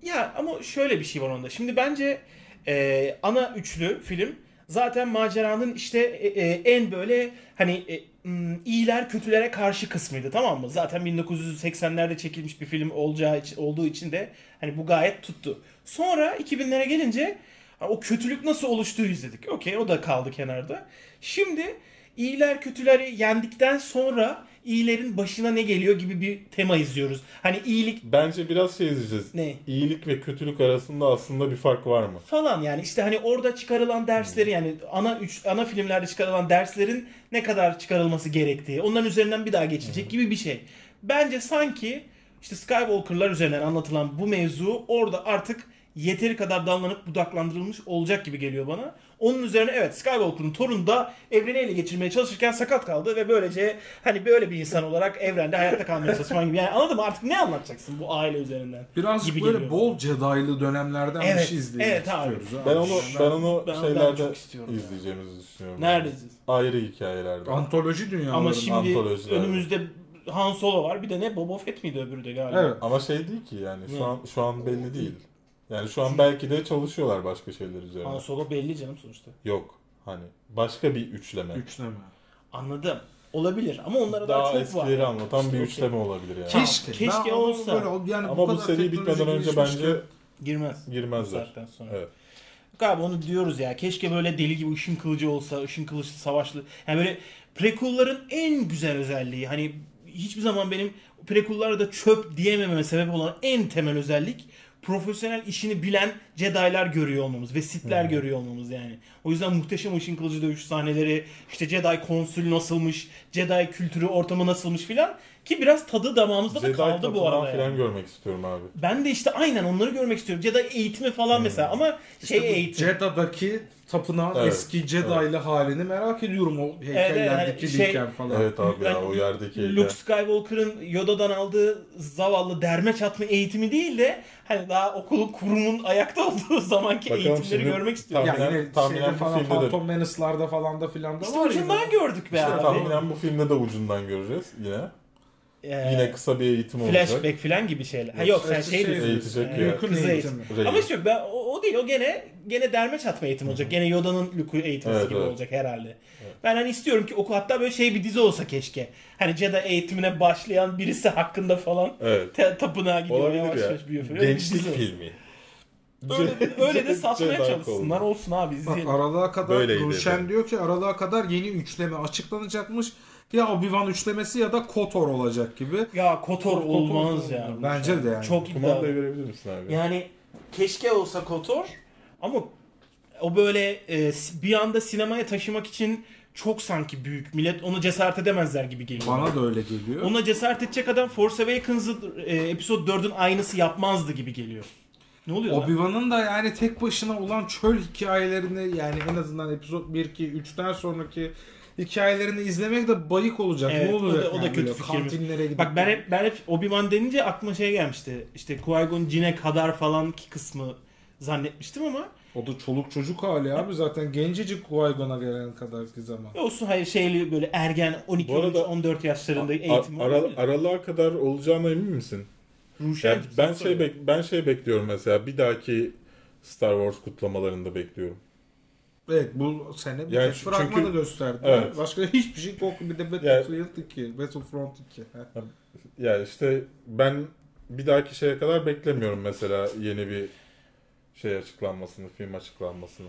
Ya ama şöyle bir şey var onda. Şimdi bence e, ana üçlü film zaten maceranın işte e, e, en böyle hani e, m, iyiler kötülere karşı kısmıydı tamam mı? Zaten 1980'lerde çekilmiş bir film olacağı için, olduğu için de hani bu gayet tuttu. Sonra 2000'lere gelince ha, o kötülük nasıl oluştuğu izledik. Okey o da kaldı kenarda. Şimdi iyiler kötüleri yendikten sonra iyilerin başına ne geliyor gibi bir tema izliyoruz. Hani iyilik Bence biraz şey izleyeceğiz. Ne? İyilik ve kötülük arasında aslında bir fark var mı? falan yani işte hani orada çıkarılan dersleri yani ana üç ana filmlerde çıkarılan derslerin ne kadar çıkarılması gerektiği onların üzerinden bir daha geçilecek gibi bir şey. Bence sanki işte Skywalker'lar üzerinden anlatılan bu mevzu orada artık yeteri kadar dallanıp budaklandırılmış olacak gibi geliyor bana. Onun üzerine evet Skywalker'ın torunu da evreni ele geçirmeye çalışırken sakat kaldı ve böylece hani böyle bir insan olarak evrende hayatta kalmaya çalışman gibi. Yani anladın mı artık ne anlatacaksın bu aile üzerinden? Birazcık gibi böyle geliyor. bol Jedi'lı dönemlerden bir Evet, şey izleyelim evet abi. istiyoruz abi. Ben onu ben onu ben- ben şeylerde çok istiyorum ya. izleyeceğimizi düşünüyorum. Nerede izliyorsun? Ayrı hikayelerde. Antoloji dünyaları. Ama şimdi antolojiler. önümüzde Han Solo var. Bir de ne Boba Fett miydi öbürü de galiba. Evet. Ama şey değil ki yani Ne? şu an şu an belli değil. Yani şu an belki de çalışıyorlar başka şeyler üzerine. Han Solo belli canım sonuçta. Yok. Hani başka bir üçleme. Üçleme. Anladım. Olabilir ama onlara daha, Daha çok var. eskileri anlatan İşte bir okey. üçleme olabilir yani. Tamam, Keşke. keşke hani Ben onu olsa. böyle- yani Ama bu kadar seri teknoloji bitmeden önce gelişmişken- bence Girmez. girmezler. Saatten sonra. Evet. Abi onu diyoruz ya. Keşke böyle deli gibi ışın kılıcı olsa, ışın kılıçlı savaşlı. Yani böyle prequel'ların en güzel özelliği. Hani hiçbir zaman benim prequel'larda çöp diyemememe sebep olan en temel özellik profesyonel işini bilen Jedi'lar görüyor olmamız ve Sith'ler görüyor olmamız yani. O yüzden muhteşem ışın kılıcı dövüş sahneleri, işte Jedi konsülü nasılmış, Jedi kültürü ortamı nasılmış filan Ki biraz tadı damağımızda da Jedi kaldı bu tapınağı arada. yani. falan görmek istiyorum abi. Ben de işte aynen onları görmek istiyorum. Jedi eğitimi falan mesela ama şey İşte bu eğitim. Jeda'daki tapınağın Evet, eski Jedi'li halini merak ediyorum o evet, heykellerdeki hani şey- şey, falan. Evet abi ya o Ben- yerdeki heykel. Luke Skywalker'ın Yoda'dan aldığı zavallı derme çatma eğitimi değil de hani daha okulun kurumun ayakta olduğu zamanki Bakalım eğitimleri şimdi- görmek istiyorum. Yani Tahminen- yine tahminen şeyde bu falan filmde de- Phantom Menace'larda falan da filan da İşte var ya. ucundan gördük be İşte abi. tahminen bu filmde de ucundan göreceğiz yine. Ee, Yine kısa bir eğitim olacak. flashback falan gibi şeyler. Ha, yok sen Eski şey diyorsun. Eğitecek Ee, ya. Luke'un Kız eğitimi. eğitimi. Rey. Ama işte ben, o, o değil o gene gene derme çatma eğitimi olacak. Gene Yoda'nın Luke'u eğitmesi Evet, gibi evet. olacak herhalde. Ben hani istiyorum ki oku hatta böyle şey bir dizi olsa keşke. Hani Jedi eğitimine başlayan birisi hakkında falan Evet. te- tapınağa gidiyor yavaş Olabilir yavaş büyüyor ya. falan. Öyle bir Gençlik dizi olsun. filmi. Öyle, de- öyle de satmaya Jedi çalışsınlar oldu. olsun abi Bak izleyelim. aralığa kadar Böyleydi efendim. Ruşen diyor ki aralığa kadar yeni üçleme açıklanacakmış. Ya Obi-Wan üçlemesi ya da Kotor olacak gibi. Ya Kotor Kotor olmaz olmaz. ya. Bence de yani. Çok iddialı. Kumandayı verebilir misin abi? Yani keşke olsa Kotor ama o böyle e, s- bir anda sinemaya taşımak için çok sanki büyük. Millet onu cesaret edemezler gibi geliyor. Bana da öyle geliyor. Ona cesaret edecek adam Force Awakens'ı e, Episode 4'ün aynısı yapmazdı gibi geliyor. Ne oluyor lan? Obi-Wan'ın da yani tek başına olan çöl hikayelerini yani en azından epizod 1 2 3'ten sonraki hikayelerini izlemek de bayık olacak. Evet, ne o olacak? da- o da yani kötü böyle fikirmiş. Kantinlere gidip Bak ben hep, ben hep Obi-Wan denince aklıma şey gelmişti. İşte Qui-Gon Jinn'e kadar falan ki kısmı zannetmiştim ama o da çoluk çocuk hali abi zaten gencecik Qui-Gon'a gelen kadarki zaman. e, olsun hayır şeyli böyle ergen 12 Bu arada- 13 14 yaşlarında eğitim A- ara- aralığa kadar olacağına emin misin? Yani ben şey bek- ben şey bekliyorum mesela bir dahaki Star Wars kutlamalarında bekliyorum. Evet bu sene bir Yani tek çünkü- fragmanı gösterdi. Evet. Başka hiçbir şey yok. Bir de Battlefield 2, Battlefront 2. Heh. Yani işte ben bir dahaki şeye kadar beklemiyorum mesela yeni bir şey açıklanmasını, film açıklanmasını.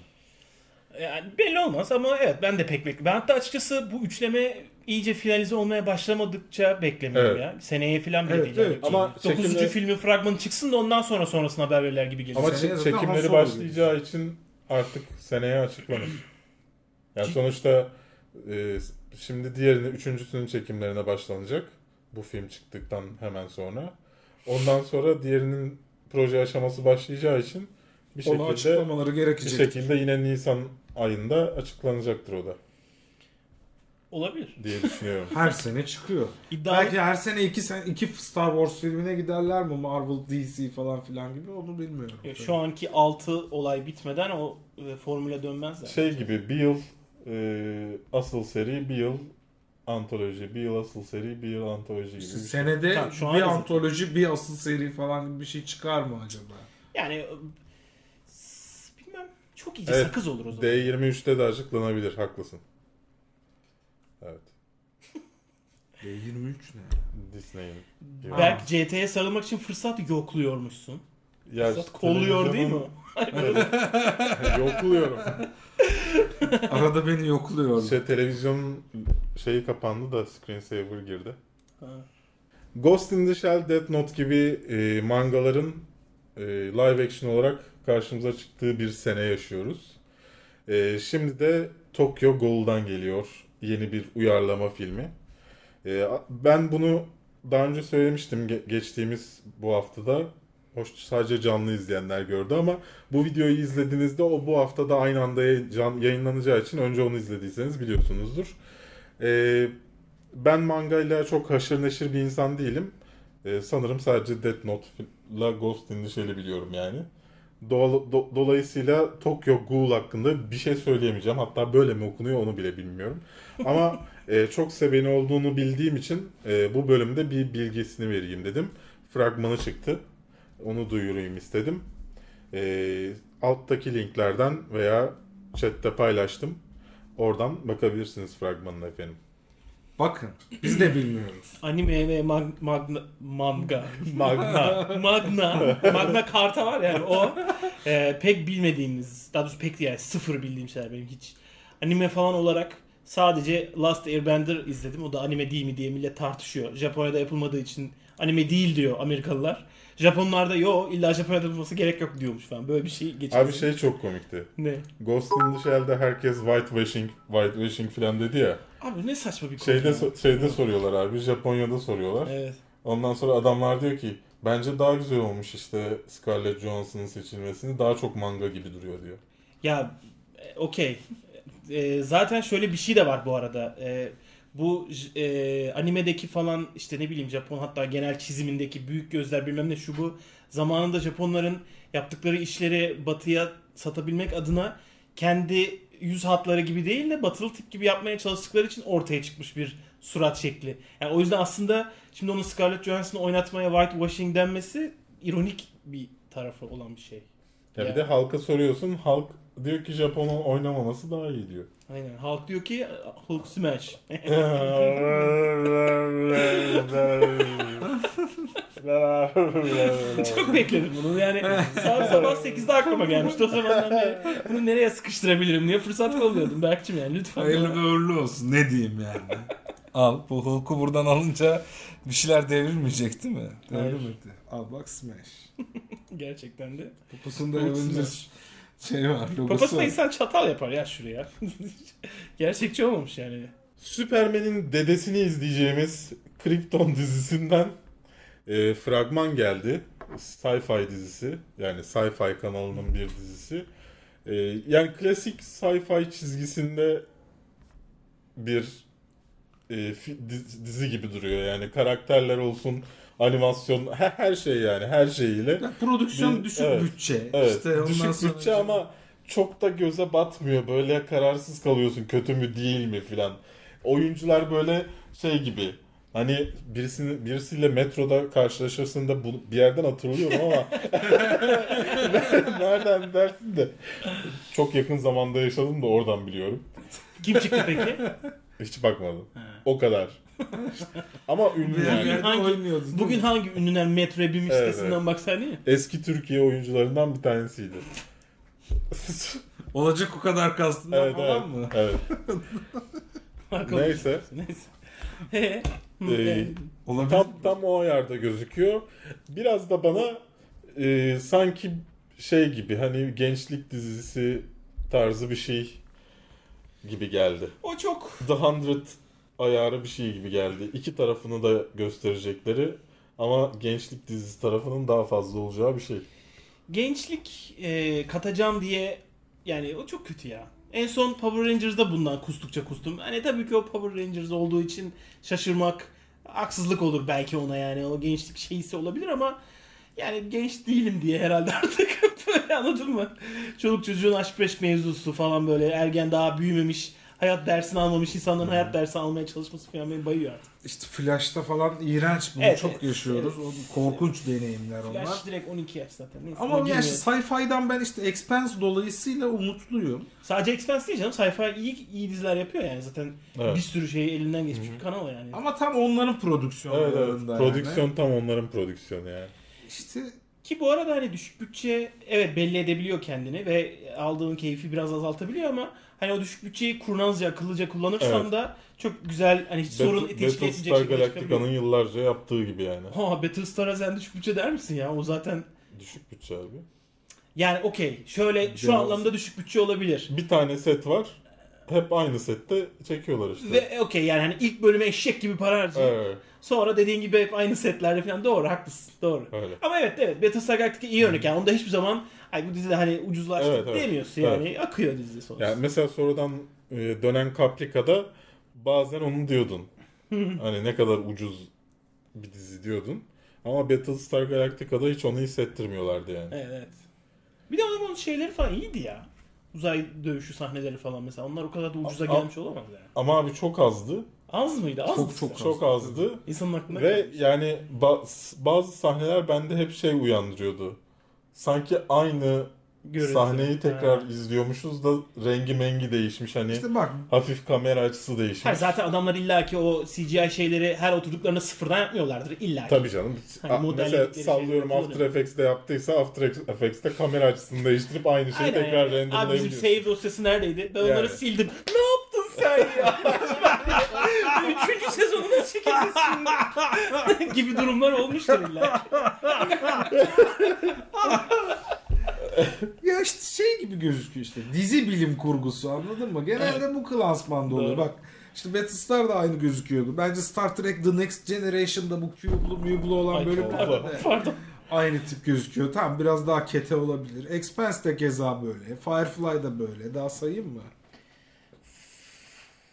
Yani belli olmaz ama evet ben de pek bekliyorum. Ben hatta açıkçası bu üçleme iyice finalize olmaya başlamadıkça beklemiyorum Evet. ya. Seneye falan bile Evet, değil. evet. Yani. Ama 9. çekimler- filmin fragmanı çıksın da ondan sonra sonrasına haber verirler gibi geliyor. Ama Seneye çe- zaten Han çekimleri Solo başlayacağı için artık seneye açıklanır. Yani sonuçta e, şimdi diğerini, üçüncüsünün çekimlerine başlanacak. Bu film çıktıktan hemen sonra. Ondan sonra diğerinin proje aşaması başlayacağı için bir Onu şekilde açıklamaları bir gerekecek. şekilde yine Nisan ayında açıklanacaktır o da Olabilir. diye düşünüyorum. Her sene çıkıyor. İddialı Belki her sene iki, sen, iki Star Wars filmine giderler mi? Marvel, DC falan filan gibi onu bilmiyorum. Ya Şu anki 6 olay bitmeden o e, formüle dönmezler. şey gibi bir yıl e, asıl seri, bir yıl antoloji, bir yıl asıl seri, bir yıl antoloji gibi. bir İşte şey. senede Tamam, şu an- bir antoloji, bir asıl seri falan gibi bir şey çıkar mı acaba? Yani e, s- bilmem çok iyice Evet. sakız olur o zaman. D23'te de açıklanabilir, haklısın. Evet. E, D23 ne? Disney'in. Belki CT'ye sarılmak için fırsat yokluyormuşsun. Ya Fırsat kolluyor değil mi? televizyonun- Yokluyorum. Arada beni yokluyor. şey, televizyonun şeyi kapandı da screensaver girdi. Ha. Ghost in the Shell, Death Note gibi e, mangaların e, live action olarak karşımıza çıktığı bir sene yaşıyoruz. E, şimdi de Tokyo Ghoul'dan geliyor yeni bir uyarlama filmi. E, a- ben bunu daha önce söylemiştim ge- geçtiğimiz bu haftada. Hoş sadece canlı izleyenler gördü ama bu videoyu izlediğinizde o bu haftada aynı anda yayın- can- yayınlanacağı için önce onu izlediyseniz biliyorsunuzdur. E, ben mangayla çok haşır neşir bir insan değilim. Ee, sanırım sadece Death Note'la Ghost in the Shell'i biliyorum yani. Doğal- do- dolayısıyla Tokyo Ghoul hakkında bir şey söyleyemeyeceğim. Hatta böyle mi okunuyor onu bile bilmiyorum. Ama e, çok seveni olduğunu bildiğim için e, bu bölümde bir bilgisini vereyim dedim. Fragmanı çıktı. Onu duyurayım istedim. E, alttaki linklerden veya chatte paylaştım. Oradan bakabilirsiniz fragmanına efendim. Bakın biz de bilmiyoruz. Anime ve mag- magna, manga. Magna. Magna. Magna karta var yani o. e, pek bilmediğimiz, daha doğrusu pek değil yani sıfır bildiğim şeyler benim hiç. Anime falan olarak sadece Last Airbender izledim. O da anime değil mi diye millet tartışıyor. Japonya'da yapılmadığı için anime değil diyor Amerikalılar. Japonlar da yo illa Japonya'da yapılması gerek yok diyormuş falan. Böyle bir şey geçiyor. Abi şey çok komikti. Ne? Ghost in the Shell'de herkes whitewashing, whitewashing falan dedi ya. Abi ne saçma bir konu. Şeyde ya. so- şeyde soruyorlar abi. Japonya'da soruyorlar. Evet. Ondan sonra adamlar diyor ki bence daha güzel olmuş işte Scarlett Johansson'ın seçilmesini. Daha çok manga gibi duruyor diyor. Ya e, okey. E, zaten şöyle bir şey de var bu arada. E, bu j- e, animedeki falan işte ne bileyim Japon hatta genel çizimindeki büyük gözler bilmem ne şu bu zamanında Japonların yaptıkları işleri batıya satabilmek adına kendi yüz hatları gibi değil de batılı tip gibi yapmaya çalıştıkları için ortaya çıkmış bir surat şekli. Yani o yüzden aslında şimdi onun Scarlett Johansson'ı oynatmaya whitewashing denmesi ironik bir tarafı olan bir şey. Ya Ya. bir de halka soruyorsun. Halk diyor ki Japon'un oynamaması daha iyi diyor. Aynen. Halk diyor ki Hulk smash. E, Çok bekledim bunu. Yani saat sabah 8'de aklıma gelmişti. O zamandan beri bunu nereye sıkıştırabilirim diye fırsat kolluyordum Berk'cim yani lütfen. Hayırlı ve uğurlu olsun. Ne diyeyim yani. Al. Bu Hulk'u buradan alınca bir şeyler devrilmeyecek değil mi? Hayır. Devrilmedi. Al bak Smash. Gerçekten de. Kupusunda Hulk Avengers Smash. şey var. Logosu Papasına var. insan çatal yapar ya şuraya. Gerçekçi olmamış yani. Superman'in dedesini izleyeceğimiz Krypton dizisinden e, fragman geldi. Sci-fi dizisi. Yani Sci-fi kanalının bir dizisi. E, yani klasik sci-fi çizgisinde bir e, fi- dizi- dizi gibi duruyor. Yani karakterler olsun, animasyon, her, her şey yani her şeyiyle. Ya, prodüksiyon Bir- düşük evet. bütçe. Evet. İşte ondan düşük sonra- bütçe ama çok da göze batmıyor. Böyle kararsız kalıyorsun kötü mü değil mi filan. Oyuncular böyle şey gibi. Hani birisini birisiyle metroda karşılaşırsın da bu, bir yerden hatırlıyorum ama nereden dersin de çok yakın zamanda yaşadım da oradan biliyorum. Kim çıktı peki? Hiç bakmadım. Ha. O kadar. Ama ünlü Yani, yani. yani hangi- oynuyordu. değil Bugün mi? hangi ünlüler metroya binmiş Evet, sitesinden baksan değil mi? Eski Türkiye oyuncularından bir tanesiydi. Olacak o kadar kastından evet, falan evet, mı? evet. Marka Neyse. Neyse. He. Hı, Ee, Olabilir. Tam tam o ayarda gözüküyor. Biraz da bana e, sanki şey gibi hani gençlik dizisi tarzı bir şey gibi geldi. O çok. The Hundred ayarı bir şey gibi geldi. İki tarafını da gösterecekleri ama gençlik dizisi tarafının daha fazla olacağı bir şey. gençlik e, katacağım diye yani o çok kötü ya. En son Power Rangers'da bundan kustukça kustum. Hani tabii ki o Power Rangers olduğu için şaşırmak haksızlık olur belki ona yani. O gençlik şeysi olabilir ama yani genç değilim diye herhalde artık böyle anladın mı? Çoluk çocuğun aşk peşk mevzusu falan böyle ergen daha büyümemiş hayat dersini almamış insanların hayat dersi almaya çalışması falan beni bayıyor artık. İşte Flash'ta falan iğrenç bunu Evet, çok evet, yaşıyoruz. evet. O korkunç deneyimler onlar. Flash direkt 12 yaş zaten. Neyse, Ama ona yani girmeyelim. sci-fi'den ben işte Expanse dolayısıyla umutluyum. Sadece Expanse değil canım. Sayfa iyi, iyi diziler yapıyor yani. Zaten Evet. bir sürü şeyi elinden geçmiş bir kanal o yani. Ama tam onların Evet, prodüksiyonlarında evet. yani. Prodüksiyon tam onların prodüksiyonu yani. İşte Ki bu arada hani düşük bütçe evet belli edebiliyor kendini ve aldığın keyfi biraz azaltabiliyor ama hani o düşük bütçeyi kurnazca, akıllıca kullanırsan Evet. da çok güzel hani hiç sorun Battle, teşkil etmeyecek Battlestar şekilde Galactica'nın çıkabiliyor. yıllarca yaptığı gibi yani. Ha Battlestar'a sen düşük bütçe der misin ya? O zaten Düşük bütçe abi. yani okey şöyle şu Biraz. anlamda düşük bütçe olabilir. Bir tane set var. Hep aynı sette çekiyorlar işte. Ve okey yani hani ilk bölüme eşek gibi para harcayıp Evet, sonra dediğin gibi hep aynı setlerde falan doğru haklısın doğru. öyle. Ama evet evet Battlestar Galactica iyi örnek yani onda hiçbir zaman ay bu dizide hani ucuzlaştı Evet, evet. diyemiyorsun Evet. yani akıyor dizi sonuçta. Yani mesela sonradan e, dönen Caprica'da bazen onu diyordun. hani ne kadar ucuz bir dizi diyordun. Ama Battlestar Galactica'da hiç onu hissettirmiyorlardı yani. Evet evet. Bir de o zaman şeyleri falan iyiydi ya. Uzay dövüşü sahneleri falan mesela onlar o kadar da ucuza A- gelmiş olamaz yani. Ama abi çok azdı. Az mıydı? Az Çok mıydı? çok. Çok azdı. İnsanın aklına Ve yani ba- bazı sahneler bende hep şey uyandırıyordu. Sanki aynı Görüntü. sahneyi tekrar Ha. izliyormuşuz da rengi mengi değişmiş hani. işte bak Hafif kamera açısı değişmiş. Ha, zaten adamlar illaki o CGI şeyleri her oturduklarına sıfırdan yapmıyorlardır illa. Tabii canım. Hani A- modelledikleri mesela şey sallıyorum yapıyorlar. After Effects'te yaptıysa After Effects'te kamera açısını değiştirip aynı şeyi Aynen tekrar yani. Abi bizim şey renderlayabiliyorsun. save dosyası neredeydi? Ben onları Yani. sildim. Ne yaptın sen ya? Üçüncü sezonunu çekeceksin. gibi durumlar olmuştur illa. ya işte şey gibi gözüküyor işte. Dizi bilim kurgusu anladın mı? Genelde bu klasmanda oluyor. Doğru. Bak İşte Battlestar da aynı gözüküyordu. Bence Star Trek The Next Generation'da bu Cube'lu Mube'lu olan Ay, bölümlerde Allah. de Pardon. aynı tip gözüküyor. Tamam biraz daha kete olabilir. Expanse de keza böyle. Firefly da böyle. Daha sayayım mı?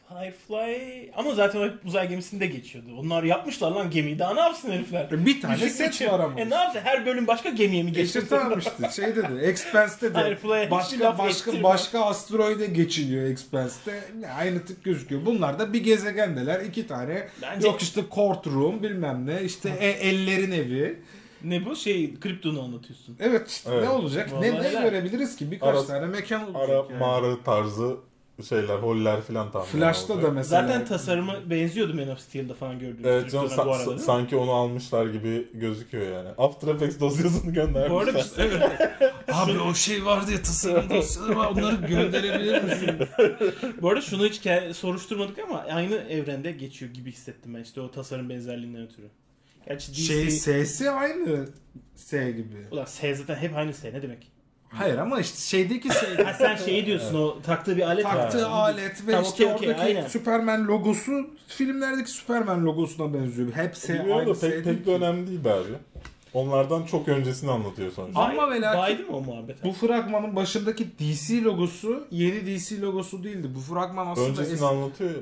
Firefly ama zaten o hep uzay gemisinde geçiyordu. Onlar yapmışlar lan gemiyi. Daha ne yapsın herifler? Bir tane Düşük set geçiyor. var ama. E ne yapsın? Her bölüm başka gemiye mi geçiyor? Geçir almıştı. Şey dedi. Expanse'de de Firefly'e hiç başka laf başka ettirme. başka asteroide geçiliyor Expanse'de. Aynı tip gözüküyor. Bunlar da bir gezegendeler. iki tane. Bence- Yok işte courtroom bilmem ne. işte e- ellerin evi. Ne bu? Şey, Krypton'u anlatıyorsun. Evet işte Evet. ne olacak? Vallahi Ne, ne neler? görebiliriz ki? Birkaç Arap- tane mekan olacak Arap yani. mağara tarzı şeyler, holler filan tahmin Flash'ta da mesela. Zaten tasarımı benziyordu Man of Steel'de falan gördüğümüz Evet canım Krypton'a bu sa- arada. sa- değil mi? sanki onu almışlar gibi gözüküyor yani. After Effects dosyasını bu arada göndermişler. biz- evet. Abi o şey vardı ya tasarım dosyaları var. Onları gönderebilir misin? Bu arada şunu hiç ke- soruşturmadık ama aynı evrende geçiyor gibi hissettim ben işte o tasarım benzerliğinden ötürü. Gerçi DC... Şey sesi aynı S gibi. Ulan S zaten hep aynı S ne demek? Hayır ama işte şeydeki S. Ha sen şeyi diyorsun o taktığı bir alet taktığı var. alet ve Tamam, işte okey, okey, oradaki aynen. Superman logosu filmlerdeki Superman logosuna benziyor. Hepsi Bilmiyorum Şey, aynı da S pek, değil pek ki. de önemli değil be abi. Onlardan çok öncesini anlatıyor sonuçta. Ama Bay- ve lakin- Baydı mı o muhabbet? Bu fragmanın başındaki DC logosu yeni DC logosu değildi. Bu fragman aslında Öncesini anlatıyor. ya.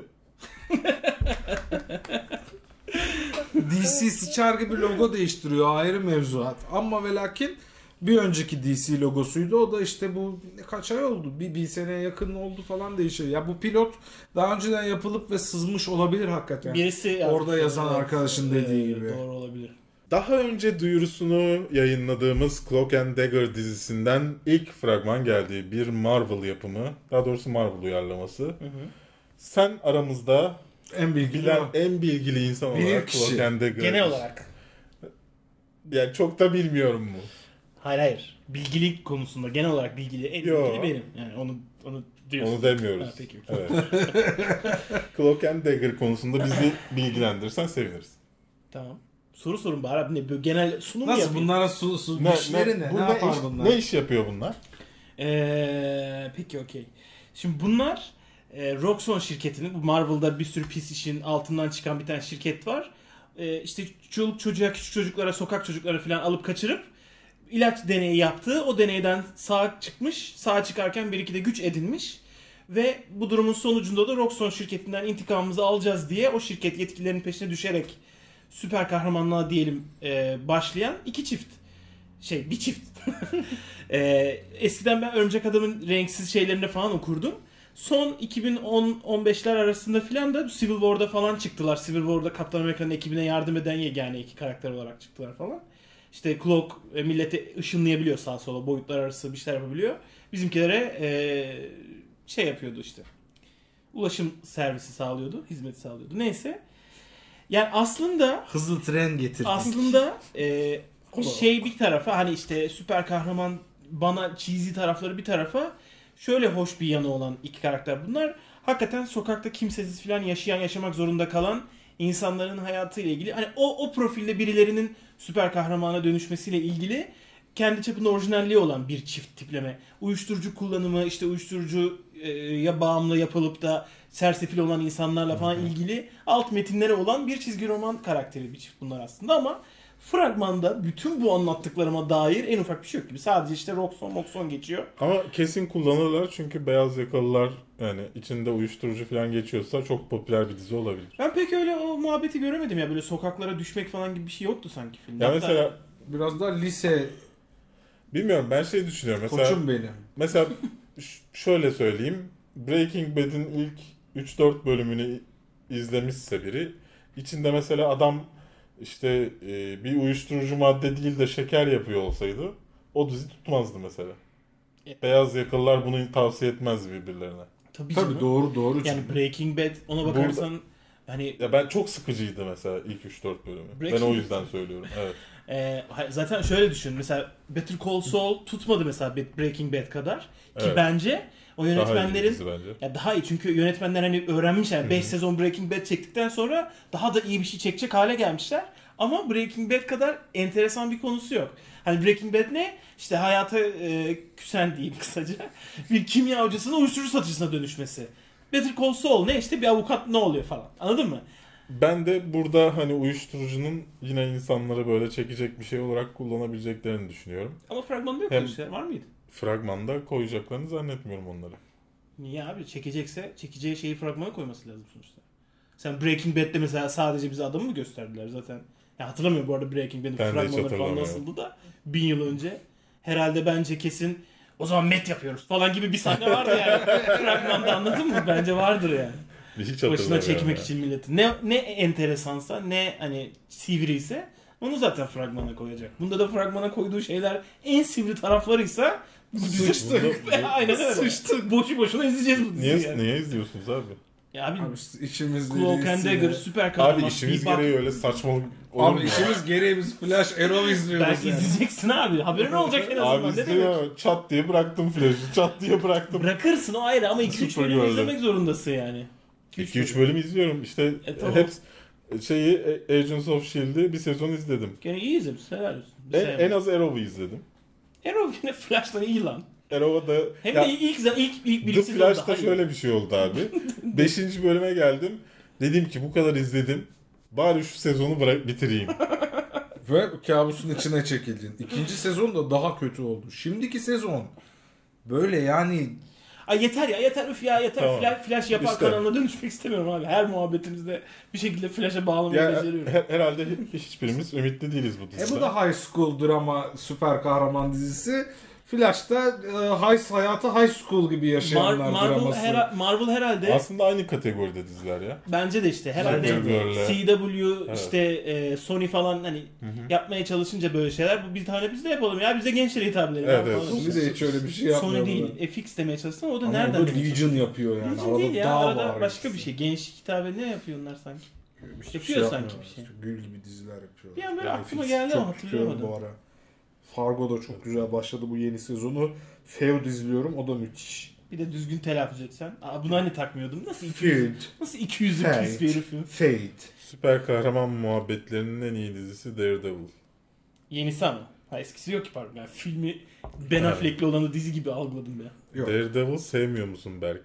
DC sıçar gibi logo değiştiriyor ayrı mevzuat. Ama ve lakin bir önceki DC logosuydu. O da işte bu ne kaç ay oldu? Bir, bir seneye yakın oldu falan değişiyor. Ya bu pilot daha önceden yapılıp ve sızmış olabilir hakikaten. Birisi Orada yazan arkadaşın dediği gibi. Doğru olabilir. Daha önce duyurusunu yayınladığımız Cloak and Dagger dizisinden ilk fragman geldi. Bir Marvel yapımı. Daha doğrusu Marvel uyarlaması. Sen aramızda En bilgili bilen o. en bilgili insan Bilir olarak kişi. Cloak and Dagger. Genel olarak. Yani çok da bilmiyorum mu? Hayır hayır. Bilgilik konusunda genel olarak bilgili en Yo. bilgili benim. Yani onu onu diyorsun. Onu demiyoruz. Ha, peki. Evet. Cloak and Dagger konusunda bizi bilgilendirirsen seviniriz. Tamam. Soru sorun bari abi ne böyle genel sunum mu Nasıl yapayım? bunlara su, su işleri ne? bu Ne, yapar iş, bunlar? ne iş yapıyor bunlar? Ee, peki okey. Şimdi bunlar e, Roxxon şirketinin bu Marvel'da bir sürü pis işin altından çıkan bir tane şirket var. E, işte çoluk çocuğa, küçük çocuklara, sokak çocuklara falan alıp kaçırıp ilaç deneyi yaptığı o deneyden sağ çıkmış. Sağ çıkarken bir iki de güç edinmiş. Ve bu durumun sonucunda da Roxxon şirketinden intikamımızı alacağız diye o şirket yetkililerinin peşine düşerek süper kahramanlığa diyelim e, başlayan iki çift şey bir çift. Ee, eskiden ben Örümcek Adam'ın renksiz şeylerinde falan okurdum. Son 2010-15'ler arasında filan da Civil War'da falan çıktılar. Civil War'da Kaptan Amerika'nın ekibine yardım eden yegane iki karakter olarak çıktılar falan. İşte Cloak e, milleti ışınlayabiliyor sağa sola boyutlar arası bir şeyler yapabiliyor. Bizimkilere e, şey yapıyordu işte. Ulaşım servisi sağlıyordu, hizmet sağlıyordu. Neyse. Yani aslında Hızlı tren getirdik. aslında e, o şey bir tarafa hani işte süper kahraman bana cheesy tarafları bir tarafa şöyle hoş bir yanı olan iki karakter bunlar. Hakikaten sokakta kimsesiz falan yaşayan yaşamak zorunda kalan insanların hayatıyla ilgili hani o o profilde birilerinin süper kahramana dönüşmesiyle ilgili kendi çapında orijinalliği olan bir çift tipleme. Uyuşturucu kullanımı, işte uyuşturucu e, ya bağımlı yapılıp da sersefil olan insanlarla falan ilgili alt metinlere olan bir çizgi roman karakteri bir çift bunlar aslında ama fragmanda bütün bu anlattıklarıma dair en ufak bir şey yok gibi. Sadece işte Roxxon, Moxxon geçiyor. Ama kesin kullanırlar çünkü beyaz yakalılar yani içinde uyuşturucu falan geçiyorsa çok popüler bir dizi olabilir. Ben pek öyle o muhabbeti göremedim ya. Böyle sokaklara düşmek falan gibi bir şey yoktu sanki filmde. Ya Hatta- mesela Biraz daha lise bilmiyorum ben şey düşünüyorum mesela koçum benim. mesela ş- şöyle söyleyeyim Breaking Bad'in ilk 3-4 bölümünü izlemişse biri içinde mesela adam işte e, bir uyuşturucu madde değil de şeker yapıyor olsaydı o dizi tutmazdı mesela. Evet. Beyaz yakalılar bunu tavsiye etmez birbirlerine. Tabii, Tabii canım. doğru doğru. Yani çünkü. Breaking Bad ona Burada- bakarsan hani Ya ben çok sıkıcıydı mesela ilk 3-4 bölümü. Breaking ben o Bad. yüzden söylüyorum. Evet. Ee, hay- zaten şöyle düşün. Mesela Better Call Saul tutmadı mesela Be- Breaking Bad kadar. Ki Evet. bence o Daha iyi bir yönetmenlerin dizi bence. ya daha iyi çünkü yönetmenler hani öğrenmişler 5 sezon Breaking Bad çektikten sonra daha da iyi bir şey çekecek hale gelmişler. Ama Breaking Bad kadar enteresan bir konusu yok. Hani Breaking Bad ne? İşte hayata e, küsen diyeyim kısaca. Bir kimya hocasının uyuşturucu satıcısına dönüşmesi. Better Call Saul ne işte bir avukat ne oluyor falan. Anladın mı? Ben de burada hani uyuşturucunun yine insanları böyle çekecek bir şey olarak kullanabileceklerini düşünüyorum. Ama fragmanda yok Hem- öyle şeyler var mıydı? Fragmanda koyacaklarını zannetmiyorum onları. Niye abi? Çekecekse çekeceği şeyi fragmana koyması lazım sonuçta. Sen Breaking Bad'de mesela sadece bize adamı mı gösterdiler zaten? Ya hatırlamıyorum bu arada Breaking Bad'in Ben de hiç fragmanları falan hatırlamıyorum. nasıldı da bin yıl önce. Herhalde bence kesin o zaman met yapıyoruz falan gibi bir sahne vardı yani. Fragmanda anladın mı? Bence vardır yani. Hiç Başına hatırlamıyorum çekmek ya. için milleti. Ne, ne enteresansa ne hani sivriyse onu zaten fragmana koyacak. Bunda da fragmana koyduğu şeyler en sivri taraflarıysa Sıçtık. Aynen öyle. Sıçtık. Boşu boşuna izleyeceğiz bu diziyi. Niye, yani. niye izliyorsunuz abi? Ya abi, Abi işte işimiz Cloak gereği and Dagger size- süper kahraman. Abi işimiz bir bak- gereği öyle saçmalık olur mu? Abi işimiz gereği biz Flash Arrow izliyoruz Belki yani. izleyeceksin abi. Haberin olacak en azından. Abi ne demek? izliyor. Çat diye bıraktım flash'ı. Çat diye bıraktım. Bırakırsın o ayrı ama 2-3 Süper bölüm gördüm. izlemek zorundasın yani. 2-3 bölüm izliyorum. İşte E, tamam. hep şeyi A- Agents of Shield'i bir sezon izledim. Gene iyi izlemişsin helal olsun. Bir E, En, sevmem. en az Arrow'u izledim. Arrow gene Flash'tan iyi lan. Arrow'a da Hem Ya, de ilk, ilk, ilk, ilk bir The iki sezonda Flash'ta hayır. şöyle bir şey oldu abi. 5. bölüme geldim. Dedim ki bu kadar izledim. Bari şu sezonu bırak bitireyim. Ve kabusun içine çekildin. İkinci sezon da daha kötü oldu. Şimdiki sezon böyle yani Ay yeter ya yeter üf ya yeter Tamam. flash, flash yapar İşte. kanalına dönüşmek istemiyorum abi. Her muhabbetimizde bir şekilde flash'a bağlamayı ya, beceriyorum. her- herhalde hi- hiçbirimiz ümitli değiliz bu e dizide. bu da high school drama süper kahraman dizisi. Flash'ta e, high hayatı high school gibi Mar- yaşayanlar Marvel, draması. hera- Marvel herhalde Aslında aynı kategoride diziler ya. Bence de işte Bence de öyle. herhalde CW Evet. işte e, Sony falan hani hı. yapmaya çalışınca böyle şeyler bu bir tane biz de yapalım ya bize gençlere hitap edelim. Evet, falan. evet. Sony de hiç öyle bir şey yapmıyor. Sony değil burada. FX demeye çalıştın ama o da Ama nereden o da bilecek? Legion yapıyor yani. Legion Arada değil ya dağ arada var başka arası. bir şey. Gençlik hitabı ne yapıyorlar sanki? Hiçbir Yapıyor sanki yapmıyorlar. bir şey. İşte Gül gibi diziler yapıyor. Bir an böyle aklıma Netflix geldi ama çok tutuyorum hatırlayamadım. Bu ara. Fargo da çok güzel başladı bu yeni sezonu. Feud izliyorum o da müthiş. Bir de düzgün telaffuz etsen. Aa, bunu hani takmıyordum. Nasıl 200 Feud. Nasıl 200 pis bir herifim. Fate. Süper kahraman muhabbetlerinin en iyi dizisi Daredevil. Yenisi ama. Ha, eskisi yok ki pardon. Yani filmi Ben Evet. Affleck'li olanı dizi gibi algıladım ya. Yok. Daredevil sevmiyor musun Berk?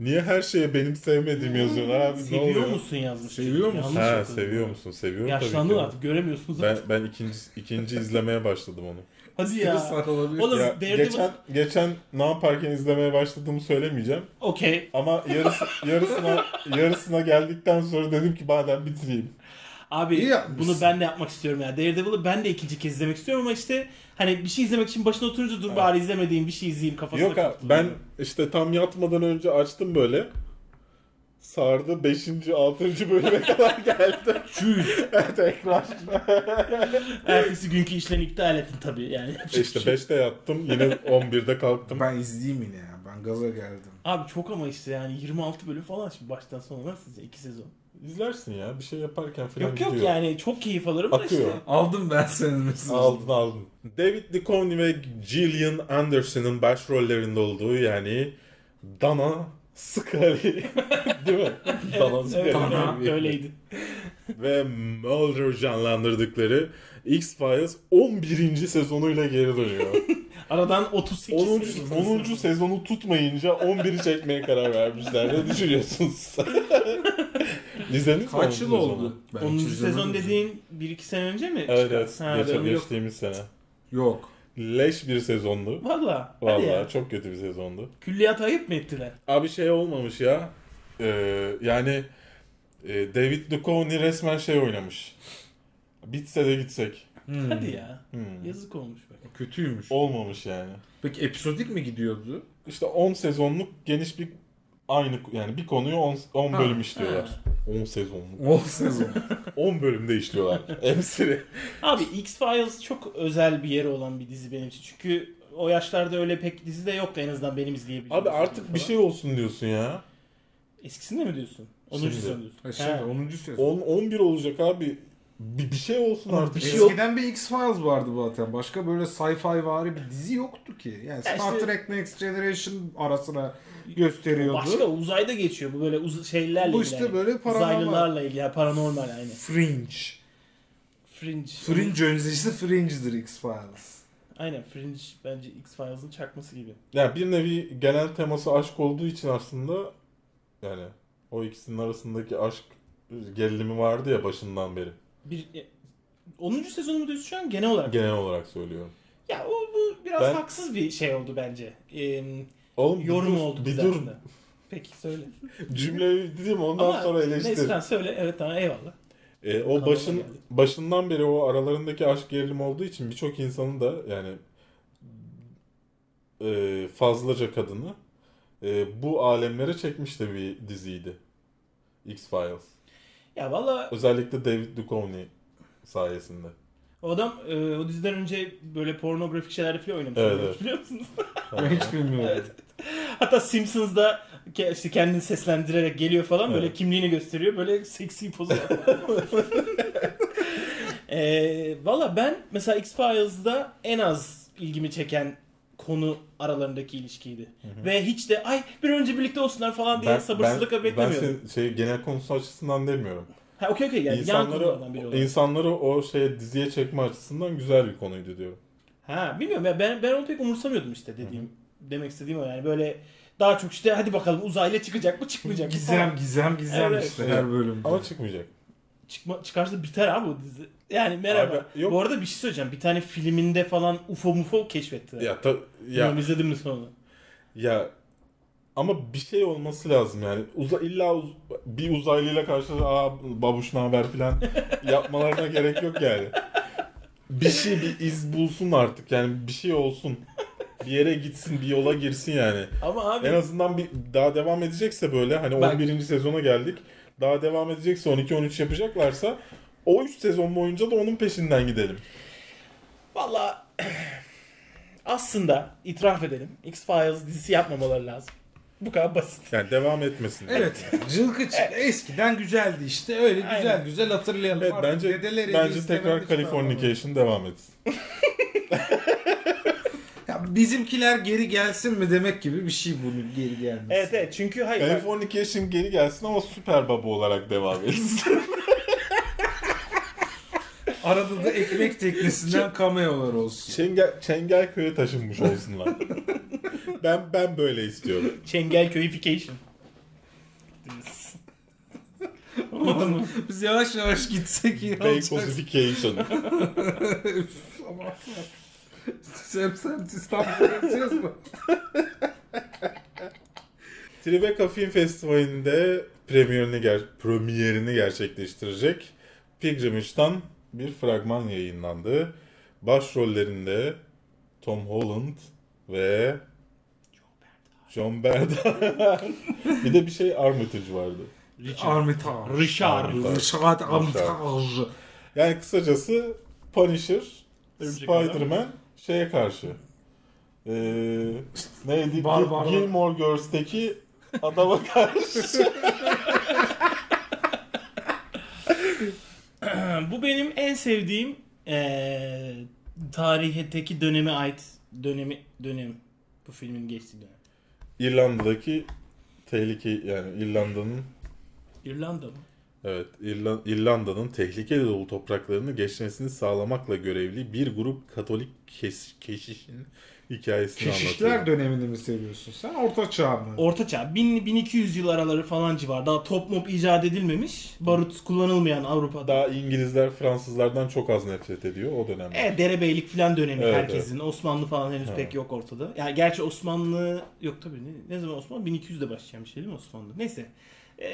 Niye her şeye benim sevmediğim yazıyorlar abi ne oluyor? Seviyor musun yazmış. Seviyor çocuk. musun? Yanlış Ha okudum. seviyor musun? Seviyorum tabii Yaşlandın ki. artık göremiyorsunuz. Ben, ben ikinci, ikinci izlemeye başladım onu. Hadi Bir ya. saat olabilir. Oğlum Ya, Daredevil... geçen, geçen ne yaparken izlemeye başladığımı söylemeyeceğim. Okey. Ama yarısı, yarısına yarısına geldikten sonra dedim ki madem bitireyim. Abi İyi yapmışsın. bunu ben de yapmak istiyorum ya. Daredevil'ı ben de ikinci kez izlemek istiyorum ama işte hani bir şey izlemek için başına oturunca dur bari izlemediğim bir şey izleyeyim kafasına Yok abi kaptım. ben işte tam yatmadan önce açtım böyle. Sardı 5. 6. bölüme kadar geldi. Tekrar. Ertesi günkü işlerini iptal ettin tabii yani. şey E İşte 5'te yattım yine 11'de kalktım. Ben izleyeyim yine ya. Ben gaza geldim. Abi çok ama işte yani 26 bölüm falan şimdi baştan sona nasıl izleyecek 2 sezon. İzlersin ya bir şey yaparken falan Yok yok gidiyor. yani çok keyif alırım da Akıyor. işte. Aldım ben senin mesajını. Aldın aldın. David Duchovny ve Gillian Anderson'ın başrollerinde olduğu yani Dana Scully. Değil mi? Dana Scully. Evet, evet, öyleydi. ve Mulder canlandırdıkları X-Files 11. sezonuyla geri dönüyor. Aradan 38 10. sezon. 10. sezonu tutmayınca 11'i çekmeye karar vermişler. Ne düşünüyorsunuz? İzlediniz mi Kaç yıl 10. sezonu? oldu? Ben 10. hiç izlemedim. sezon dediğin 1-2 sene önce mi? Evet, çıkan? evet. Ha, Geçen, benim yok. geçtiğimiz sene. Yok. Leş bir sezondu. Valla. Hadi ya. Vallahi çok kötü bir sezondu. Külliyata ayıp mı ettiler? Abi şey olmamış ya. Ee, yani e, David Duchovny resmen şey oynamış. Bitse de gitsek. Hmm. Hadi ya. Hmm. Yazık olmuş bak. Kötüymüş. Olmamış yani. Peki episodik mi gidiyordu? İşte 10 sezonluk geniş bir aynı yani bir konuyu 10 10 Ha, bölüm işliyorlar. 10 sezonluk. 10 sezon. 10 bölümde işliyorlar. Hepsini. Abi X-Files çok özel bir yeri olan bir dizi benim için. Çünkü o yaşlarda öyle pek dizi de yoktu en azından benim izleyebildiğim. Abi artık bir şey olsun diyorsun ya. Eskisinde mi diyorsun? 10. Şimdi. sezon diyorsun. Ha, şimdi Ha. 10. sezon. 10 11 olacak abi. Bir, bir şey olsun Ama artık. bir şey Eskiden bir X-Files vardı zaten. Başka böyle sci-fi vari bir dizi yoktu ki. Yani Ya Star işte- Trek Next Generation arasına gösteriyordu. Başka uzayda geçiyor bu böyle uz- şeylerle Bu işte ilgili. hani böyle paranormal. Uzaylılarla ilgili yani paranormal aynı. Fringe. Fringe. Fringe öncesi Fringe'dir X-Files. Aynen Fringe bence X-Files'ın çakması gibi. Ya bir nevi genel teması aşk olduğu için aslında e, Yani o ikisinin arasındaki aşk gerilimi vardı ya başından beri. Bir, e, 10. sezonumda üstü şu an genel olarak. Genel olarak söylüyorum. Ya o bu biraz Ben- haksız bir şey oldu bence. Ee, Oğlum bir yorum dur, oldu bir bize dur. aslında. Peki söyle. Cümleyi dedim ondan sonra eleştir. Neyse söyle. Evet tamam eyvallah. E, o Kanalıma başın geldi. başından beri o aralarındaki aşk gerilimi olduğu için birçok insanı da yani e, fazlaca kadını e, bu alemlere çekmiş de bir diziydi. X-Files. Ya valla Özellikle David Duchovny sayesinde. o adam e, o diziden önce böyle pornografik şeylerde falan oynamış. Evet, evet. Biliyor musunuz? Ben hiç bilmiyorum. Hatta Simpsons'da ke- işte kendini seslendirerek geliyor falan böyle Evet. kimliğini gösteriyor. Böyle seksi poz. e, Valla ben mesela X-Files'da en az ilgimi çeken konu aralarındaki ilişkiydi. Ve hiç de ay bir an önce birlikte olsunlar falan diye sabırsızlıkla beklemiyordum. Ben senin şey, genel konusu açısından demiyorum. Ha okey okey yani yan konulardan biri insanları, olarak. insanları o şeye diziye çekme açısından güzel bir konuydu diyorum. Ha bilmiyorum ya ben ben onu pek umursamıyordum işte dediğim demek istediğim o yani böyle daha çok işte hadi bakalım uzaylı çıkacak mı çıkmayacak mı falan. Gizem gizem gizem Evet. işte her bölümde. Ama çıkmayacak. Çıkma, çıkarsa biter abi o dizi. Yani merhaba. Abi, yok. Bu arada bir şey söyleyeceğim. Bir tane filminde falan UFO mufo keşfettiler. Ya, ta, ya Bilmiyorum, izledin mi sonunu? Ya ama bir şey olması lazım yani. Uza, illa uz- bir uzaylıyla karşı aa babuş ne haber falan yapmalarına gerek yok yani. Bir şey bir iz bulsun artık yani bir şey olsun. Bir yere gitsin, bir yola girsin yani. Ama abi En azından bir daha devam edecekse böyle hani Bak- 11. sezona geldik. Daha devam edecekse 12 13 yapacaklarsa o 3 sezon boyunca da onun peşinden gidelim. valla aslında itiraf edelim. X-Files dizisi yapmamaları lazım. Bu kadar basit. Yani devam etmesin. Evet. Cılkı çıktı. Eskiden güzeldi işte. Öyle güzel Aynen. güzel hatırlayalım. Evet Artık bence dedeleri bence istemedi tekrar hiçbir anlamı yok. Californication devam etsin. Ya bizimkiler geri gelsin mi demek gibi bir şey bunun geri gelmesi. Evet evet çünkü hayır. bak- Californication geri gelsin ama süper baba olarak devam etsin. Arada da ekmek teknesinden cameo'lar olsun. Çengel, Çengelköy'e taşınmış olsunlar. ben ben böyle istiyorum. Çengelköyification. Anladın mı? Biz yavaş yavaş gitsek iyi olacak. Beykozification. Üf, aman Allah'ım. Sem sen İstanbul'a gideceğiz mi? Tribeca Film Festivali'nde premierini, ger premierini gerçekleştirecek Pilgrimage'dan bir fragman yayınlandı. Başrollerinde Tom Holland ve John Berda. bir de bir şey Armitage vardı. Armitage. Richard. Richard Armitage. Yani kısacası Punisher, Örümcek Adam. Spider-Man şeye karşı. Ee, neydi? Barbar. Gil- Gilmore Girls'teki adama karşı. Bu benim en sevdiğim eee tarihteki döneme ait dönemi dönem bu filmin geçtiği dönem. İrlanda'daki tehlike yani İrlanda'nın İrlanda mı? evet İrla- İrlanda'nın tehlikeli dolu topraklarını geçmesini sağlamakla görevli bir grup Katolik kes- keşişin hikayesini Keşişler anlatıyor. dönemini mi seviyorsun sen? Orta çağ mı? Orta Çağ 1000 1200 yıl araları falan civar. Daha top mop icat edilmemiş. Barut kullanılmayan Avrupa'da. Daha İngilizler Fransızlardan çok az nefret ediyor o dönemde. E derebeylik falan dönemi Evet, herkesin. Osmanlı falan henüz pek yok ortada. Yani gerçi Osmanlı yok tabii. Ne, ne zaman Osmanlı? 1200'de başlayan bir şey değil mi Osmanlı? Neyse. E,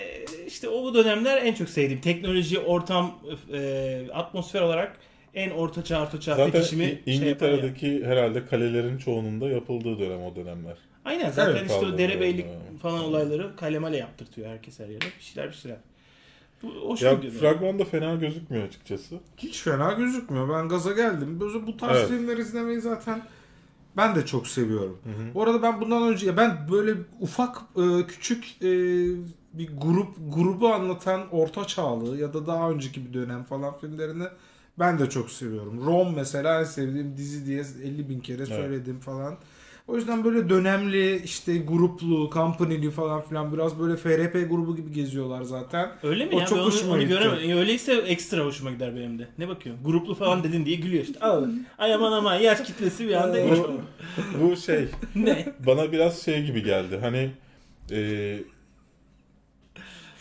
işte o dönemler en çok sevdiğim. Teknoloji, ortam, e, atmosfer olarak en orta çağ, orta çağ Zaten fetişimi İ- şey yapan yer. İngiltere'deki herhalde kalelerin çoğunun da yapıldığı dönem o dönemler. Aynen zaten Evet, işte kaldı. o derebeylik Doğru. falan olayları kalemale yaptırtıyor herkes her yere. Bir şeyler bir şeyler. Bu hoş Ya gidiyor. fragman da fena gözükmüyor açıkçası. Hiç fena gözükmüyor. Ben gaza geldim. Böyle bu tarz Evet. filmleri izlemeyi zaten ben de çok seviyorum. Bu arada ben bundan önce ya ben böyle ufak e, küçük e, bir grup grubu anlatan orta çağlı ya da daha önceki bir dönem falan filmlerini ben de çok seviyorum. Rom mesela en sevdiğim dizi diye 50 bin kere söyledim falan. O yüzden böyle dönemli işte gruplu, company'li falan filan biraz böyle FRP grubu gibi geziyorlar zaten. Öyle mi O ya? çok ben onu, hoşuma onu gitti. göremedim. E, Öyleyse ekstra hoşuma gider benim de. Ne bakıyorsun? Gruplu falan dedin diye gülüyor işte. Al. Ay aman aman yaş kitlesi bir anda. Bu, bu şey ne? bana biraz şey gibi geldi. Hani e,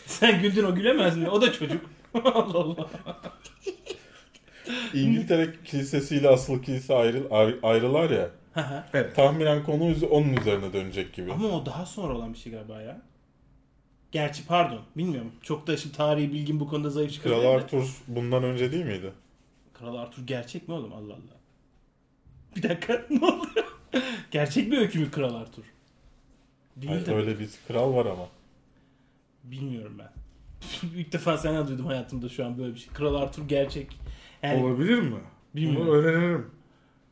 Sen güldün o gülemez mi? O da çocuk. Allah Allah. İngiltere kilisesiyle asıl kilise ayrı, ayrı- ayrılar ya. Evet. Tahminen konu üz- onun üzerine dönecek gibi. Ama o daha sonra olan bir şey galiba ya. Gerçi pardon bilmiyorum. Çok da şimdi tarihi bilgim bu konuda zayıf çıkıyor. Kral Arthur bundan önce değil miydi? Kral Arthur gerçek mi oğlum Allah Allah. Bir dakika ne oldu? gerçek bir öykü mü Kral Arthur? Hayır, Bilmiyorum. öyle bir kral var ama. Bilmiyorum ben. İlk defa senden duydum hayatımda şu an böyle bir şey. Kral Arthur gerçek. Yani Olabilir mi? Bilmiyorum. Bunu öğrenirim.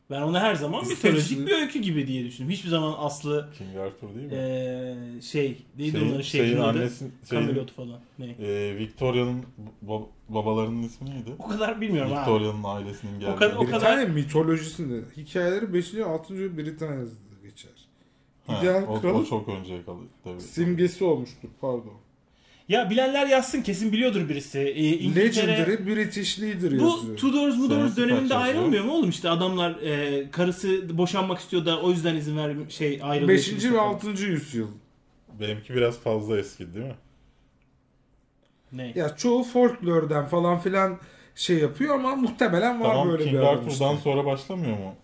ben onu her zaman mitolojik bir öykü gibi diye düşündüm. Hiçbir zaman aslı King Arthur değil mi? eee, şey Ee, neydi Şeyin- onların şeyin şeklinde adı? annesin, şeyin, Camelot falan. Ne? e, Victoria'nın ba- babalarının ismi neydi? O kadar bilmiyorum ha. Victoria'nın ailesinin geldiği. kadar- o kadar- Britanya mitolojisinde hikayeleri 5. 6. Britanya'da geçer. Ha, İdeal o, kral- o çok önceye kalıyor tabii. Simgesi olmuştur pardon. Ya bilenler yazsın kesin biliyordur birisi. Ee, İngiltere Legendary British Leader bu yazıyor. Tudors Mudors Senesi döneminde parçası. ayrılmıyor mu oğlum işte adamlar e, karısı boşanmak istiyor da o yüzden izin ver şey ayrılıyor. 5. işte ve falan. 6. yüzyıl. Benimki biraz fazla eski değil mi? Ne? Ya çoğu folklörden falan filan şey yapıyor ama muhtemelen var tamam böyle King bir adam Arthur'dan işte. sonra başlamıyor mu?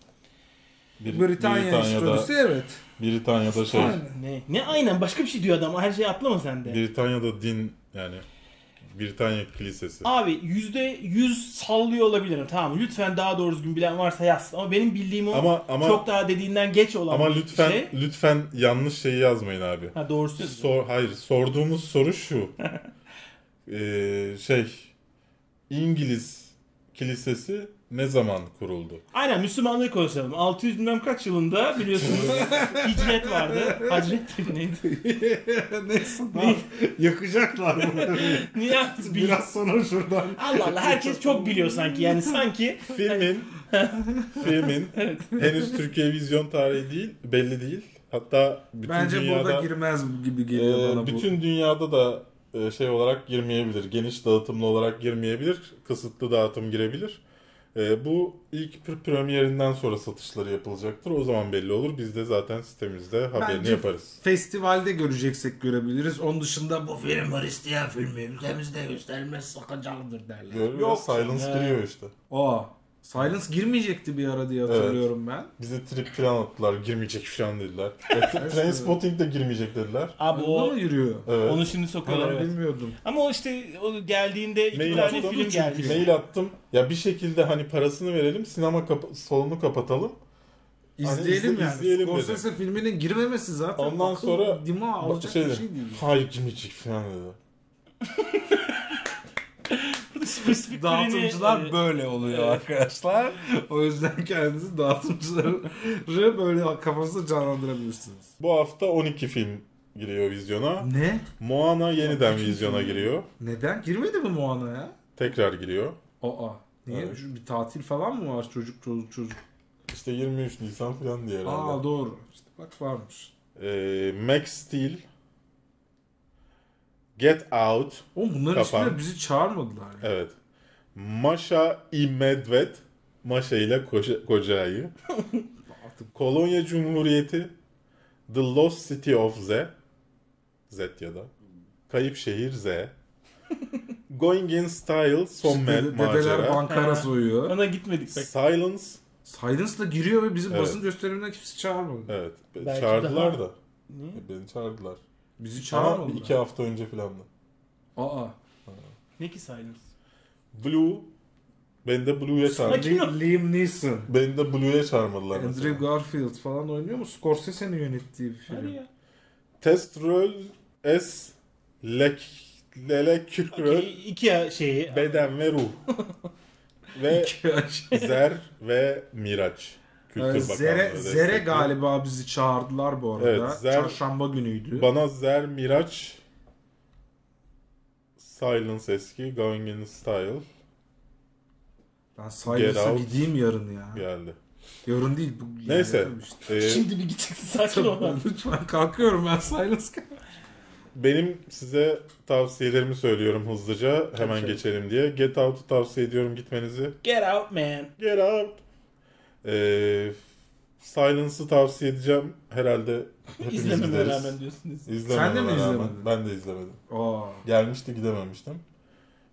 Bir- Britanya Britanya'da, historisi evet. Britanya'da şey, Aynen. Ne? Ne aynen başka bir şey diyor adam her şeyi atlama sen de. Britanya'da din yani Britanya kilisesi. Abi yüzde yüz sallıyor olabilirim tamam lütfen daha doğru düzgün bilen varsa yazsın ama benim bildiğim o Ama ama çok daha dediğinden geç olan ama bir lütfen şey. lütfen yanlış şeyi yazmayın abi. Ha doğrusu. Sor hayır sorduğumuz soru şu. Ee, şey İngiliz kilisesi ne zaman kuruldu? Aynen Müslümanlığı konuşalım. 600 bilmem kaç yılında biliyorsunuz hicret vardı. Hacret mi neydi? Neyse daha yakacaklar bunları. Niye bilmiyorum. Biraz sonra şuradan. Allah Allah herkes çok biliyor sanki yani sanki Filmin filmin henüz Türkiye vizyon tarihi değil, belli değil. Hatta bütün Bence dünyada burada girmez gibi geliyor Ee, bana bu. bütün dünyada da e, şey olarak girmeyebilir. Geniş dağıtımlı olarak girmeyebilir. Kısıtlı dağıtım girebilir. E, bu ilk pr- premierinden sonra satışları yapılacaktır. O zaman belli olur. Biz de zaten sitemizde haberini Bence- yaparız. Festivalde göreceksek görebiliriz. Onun dışında bu film Hristiyan filmi ülkemizde gösterilmez sakıncalıdır derler. Görüyoruz. Yok. Silence Ee. giriyor işte. Aa, Silence girmeyecekti bir ara diye hatırlıyorum ben. Bize trip falan attılar. Girmeyecek falan dediler. E, t- Trainspotting de girmeyecek dediler. abi Bunda o mı yürüyor? Evet. onu şimdi sokuyorlar Ben evet. bilmiyordum. Ama o işte o geldiğinde iki Mail tane attım. film geldi. Mail attım. Ya bir şekilde hani parasını verelim. Sinema kapa- salonu kapatalım. Hani İzleyelim izle- yani. izleyelim Scorsese filminin girmemesi zaten Ondan akıl sonra dima alacak şey bir dedi, şey değil. Hayır girmeyecek falan dedi. Spesifik Dağıtımcılar birini, e, böyle oluyor arkadaşlar. O yüzden kendinizi dağıtımcıları böyle kafasında canlandırabilirsiniz. Bu hafta 12 film giriyor vizyona. Ne? Moana yeniden Bütün vizyona film. giriyor. Neden? Girmedi mi Moana ya? Tekrar giriyor. Aa. Niye? Evet. Şu Bir tatil falan mı var çocuk çocuk çocuk? İşte 23 Nisan falan diye Aa herhalde. doğru. İşte bak varmış. Ee, Max Steel. Get Out. Oğlum bunların Kapan. hiçbirine bizi çağırmadılar. ya. Evet. Masha i Medved. Masha ile koca, kocayı. Artık Kolonya Cumhuriyeti. The Lost City of Z. Z ya da. Kayıp Şehir Z. Going in Style. Son işte Mad dede- dedeler Macera. bankara Ha. soyuyor. Ona gitmedik bak. Silence. Silence'la giriyor ve bizi Evet. basın gösterimine kimse çağırmadı. Evet. Be- Belki çağırdılar daha- da. Niye? E, Beni çağırdılar. Bizi Ama çağırmadılar. iki hafta önce filan da. Aa. Ne ki Silence? Blue. Beni de Blue'ya çağırdı. Sakin- Kim o? Li- Liam Neeson. Beni de Blue'ya çağırmadılar Andrew mesela. Garfield falan oynuyor mu? Scorsese'nin yönettiği bir Hadi film. ya. Testrol S. Lek. Lele Kürkröl. İki, iki ya şeyi. Beden ve Ruh. ve şey- Zer ve Miraç. Kültür Ee, Bakanlığı Zere, Zere destekli. galiba bizi çağırdılar bu arada. Evet, Zer- Çarşamba günüydü. Bana Zer, Miraç. Silence eski. Going in Style ben Get Silence'a Out. gideyim yarın ya. geldi. Yarın değil. Bu, Neyse. Yarın işte. Ee, Şimdi bir gideceksin sakin ol lan. Tabii, lütfen kalkıyorum ben Silence. Benim size tavsiyelerimi söylüyorum hızlıca. Hemen geçelim diye. Get Out'u tavsiye ediyorum gitmenizi. Get out man. Get Out. Ee, Silence'ı tavsiye edeceğim. Herhalde hepimiz İzlememe gideriz. rağmen diyorsunuz. İzlememe Sen de mi rağmen. izlemedin? Ben de izlemedim. Aa. Gelmişti gidememiştim.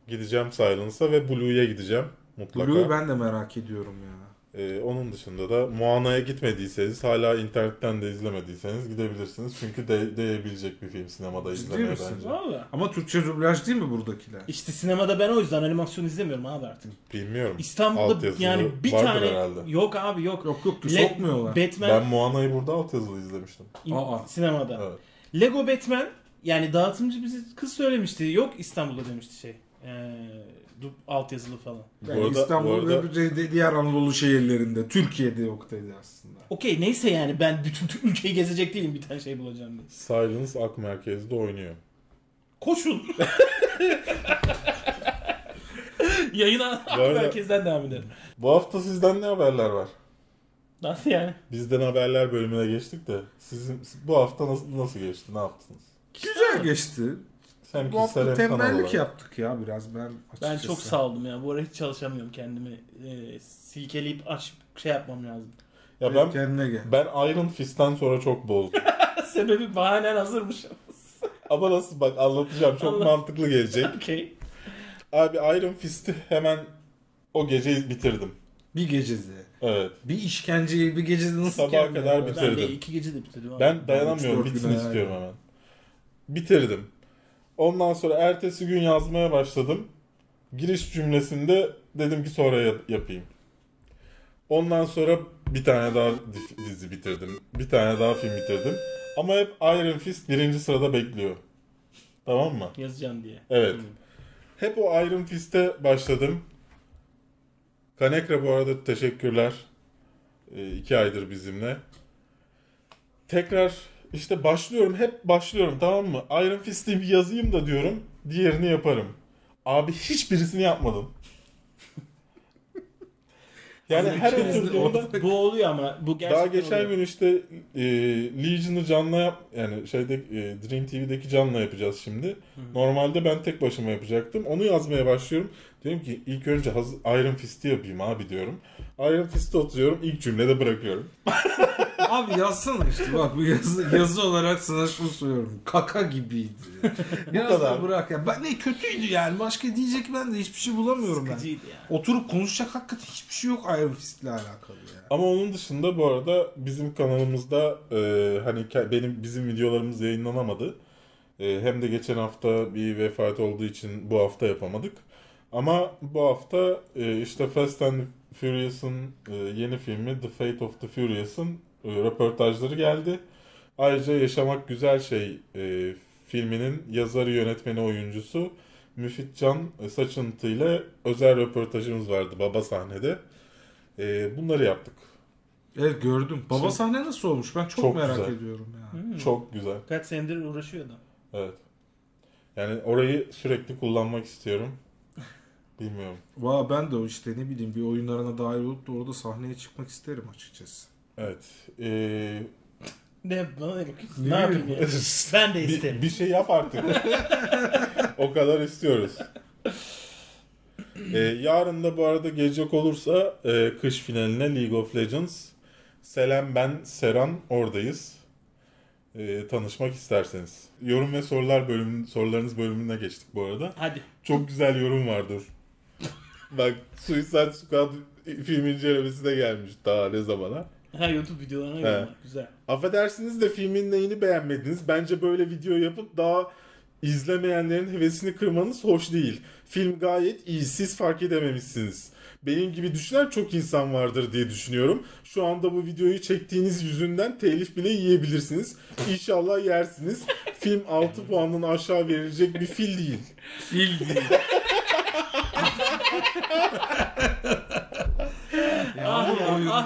Gideceğim Silence'a ve Blue'ya gideceğim mutlaka. Blue'yu ben de merak ediyorum ya. Ee, onun dışında da Moana'ya gitmediyseniz hala internetten de izlemediyseniz gidebilirsiniz. Çünkü de- değebilecek bir film sinemada Ciddi izlemeye misin? bence. Valla. Ama Türkçe dublaj değil mi buradakiler? İşte sinemada ben o yüzden animasyon izlemiyorum abi artık. Bilmiyorum. İstanbul'da Altyazılı yani bir vardır tane herhalde. yok abi yok. Yok yok Le- sokmuyorlar. Batman Ben Moana'yı burada altyazılı izlemiştim. in- Aa. sinemada. Evet. Lego Batman yani dağıtımcı bizi kız söylemişti. Yok İstanbul'da demişti şey. Ee, du- altyazılı falan. Yani bu arada- İstanbul bu arada- ve bir de diğer Anadolu şehirlerinde, Türkiye'de yok dedi aslında. Okey neyse yani ben bütün tüm ülkeyi gezecek değilim bir tane şey bulacağım diye. Silence Ak Merkez'de oynuyor. Koşun. Yayına Bu arada- merkezden devam edelim. Bu hafta sizden ne haberler var? Nasıl yani? Bizden haberler bölümüne geçtik de sizin bu hafta nasıl nasıl geçti? Ne yaptınız? Güzel geçti. Hem Bu kişisel hafta hem kanal tembellik olarak. yaptık ya biraz ben açıkçası. Ben çok sağ oldum ya. Bu ara hiç çalışamıyorum kendimi. Ee, silkeleyip açıp şey yapmam lazım. Ya ben Kendine gel. ben Iron Fist'ten sonra çok bozdum. Sebebi bahanen hazırmış. Ama nasıl bak anlatacağım çok Anlat. mantıklı gelecek. Okey. Abi Iron Fist'i hemen o gece bitirdim. Bir gecede. Evet. Bir işkenceyi bir gecede nasıl Sabaha kendine kadar gel- bir- Ben de Bitirdim. iki gece de bitirdim. abi. Ben dayanamıyorum. üç, dört Bitsin güne istiyorum hemen. Bitirdim. Ondan sonra ertesi gün yazmaya başladım. Giriş cümlesinde dedim ki sonra yap- yapayım. Ondan sonra bir tane daha dif- dizi bitirdim. Bir tane daha film bitirdim. Ama hep Iron Fist birinci sırada bekliyor. Tamam mı? yazacağım diye. Evet. Hı. Hep o Iron Fist'e başladım. Kanekra bu arada teşekkürler. Ee, iki aydır bizimle. Tekrar işte başlıyorum. Hep başlıyorum tamam mı? Iron Fist'i bir yazayım da diyorum. Diğerini yaparım. Abi hiçbirisini yapmadım. yani her oturduğumda... Bu oluyor ama bu gerçekten Daha geçen oluyor. gün işte e, Legion'ı canla yap yani şeyde e, Dream TV'deki canla yapacağız şimdi. Normalde ben tek başıma yapacaktım. Onu yazmaya başlıyorum. Diyorum ki ilk önce haz- Iron Fist'i yapayım abi diyorum. Iron Fist'i oturuyorum ilk cümlede bırakıyorum. Abi yazsana işte bak bu yazı, yazı olarak sana şunu söylüyorum. Kaka gibiydi. Yaz da kadar. bırak ya. Ben ne kötüydü yani. Başka diyecek ben de hiçbir şey bulamıyorum ben. Sıkıcıydı ya. Oturup konuşacak hakikaten hiçbir şey yok Iron Fist'le alakalı ya. Ama onun dışında bu arada bizim kanalımızda e, hani ke- benim bizim videolarımız yayınlanamadı. E, hem de geçen hafta bir vefat olduğu için bu hafta yapamadık. Ama bu hafta e, işte Fast and Furious'ın e, yeni filmi The Fate of the Furious'ın e, röportajları geldi. Ayrıca Yaşamak Güzel Şey e, filminin yazarı, yönetmeni, oyuncusu Müfit Can e, Saçıntı ile özel röportajımız vardı baba sahnede. E, bunları yaptık. Evet gördüm. Baba sahne nasıl olmuş? Ben çok, Çok merak güzel. ediyorum ya. Çok güzel. Kaç senedir uğraşıyor adam. Evet. Yani orayı sürekli kullanmak istiyorum. Bilmiyorum. Valla ben de o işte ne bileyim bir oyunlarına dahil olup da orada sahneye çıkmak isterim açıkçası. Evet. Ee, Ne bana ne bakıyorsun? Ne yapayım ya? Ben de isterim. bir, bir şey yap artık. o kadar istiyoruz. Ee, yarın da bu arada gelecek olursa e, kış finaline League of Legends. Selam ben Seran oradayız. Ee, tanışmak isterseniz. Yorum ve sorular bölümü sorularınız bölümüne geçtik bu arada. Hadi. Çok güzel yorum vardır. Bak Suicide Squad film incelemesi de gelmiş daha ne zamana. Ha YouTube videolarına He. yorumlar. Güzel. Affedersiniz de filmin neyini beğenmediniz? Bence böyle video yapıp daha izlemeyenlerin hevesini kırmanız hoş değil. Film gayet iyi, siz fark edememişsiniz. Benim gibi düşünen çok insan vardır diye düşünüyorum. Şu anda bu videoyu çektiğiniz yüzünden telif bile yiyebilirsiniz. İnşallah yersiniz. Film 6 puandan aşağı verilecek bir fil değil. Fil değil. ah,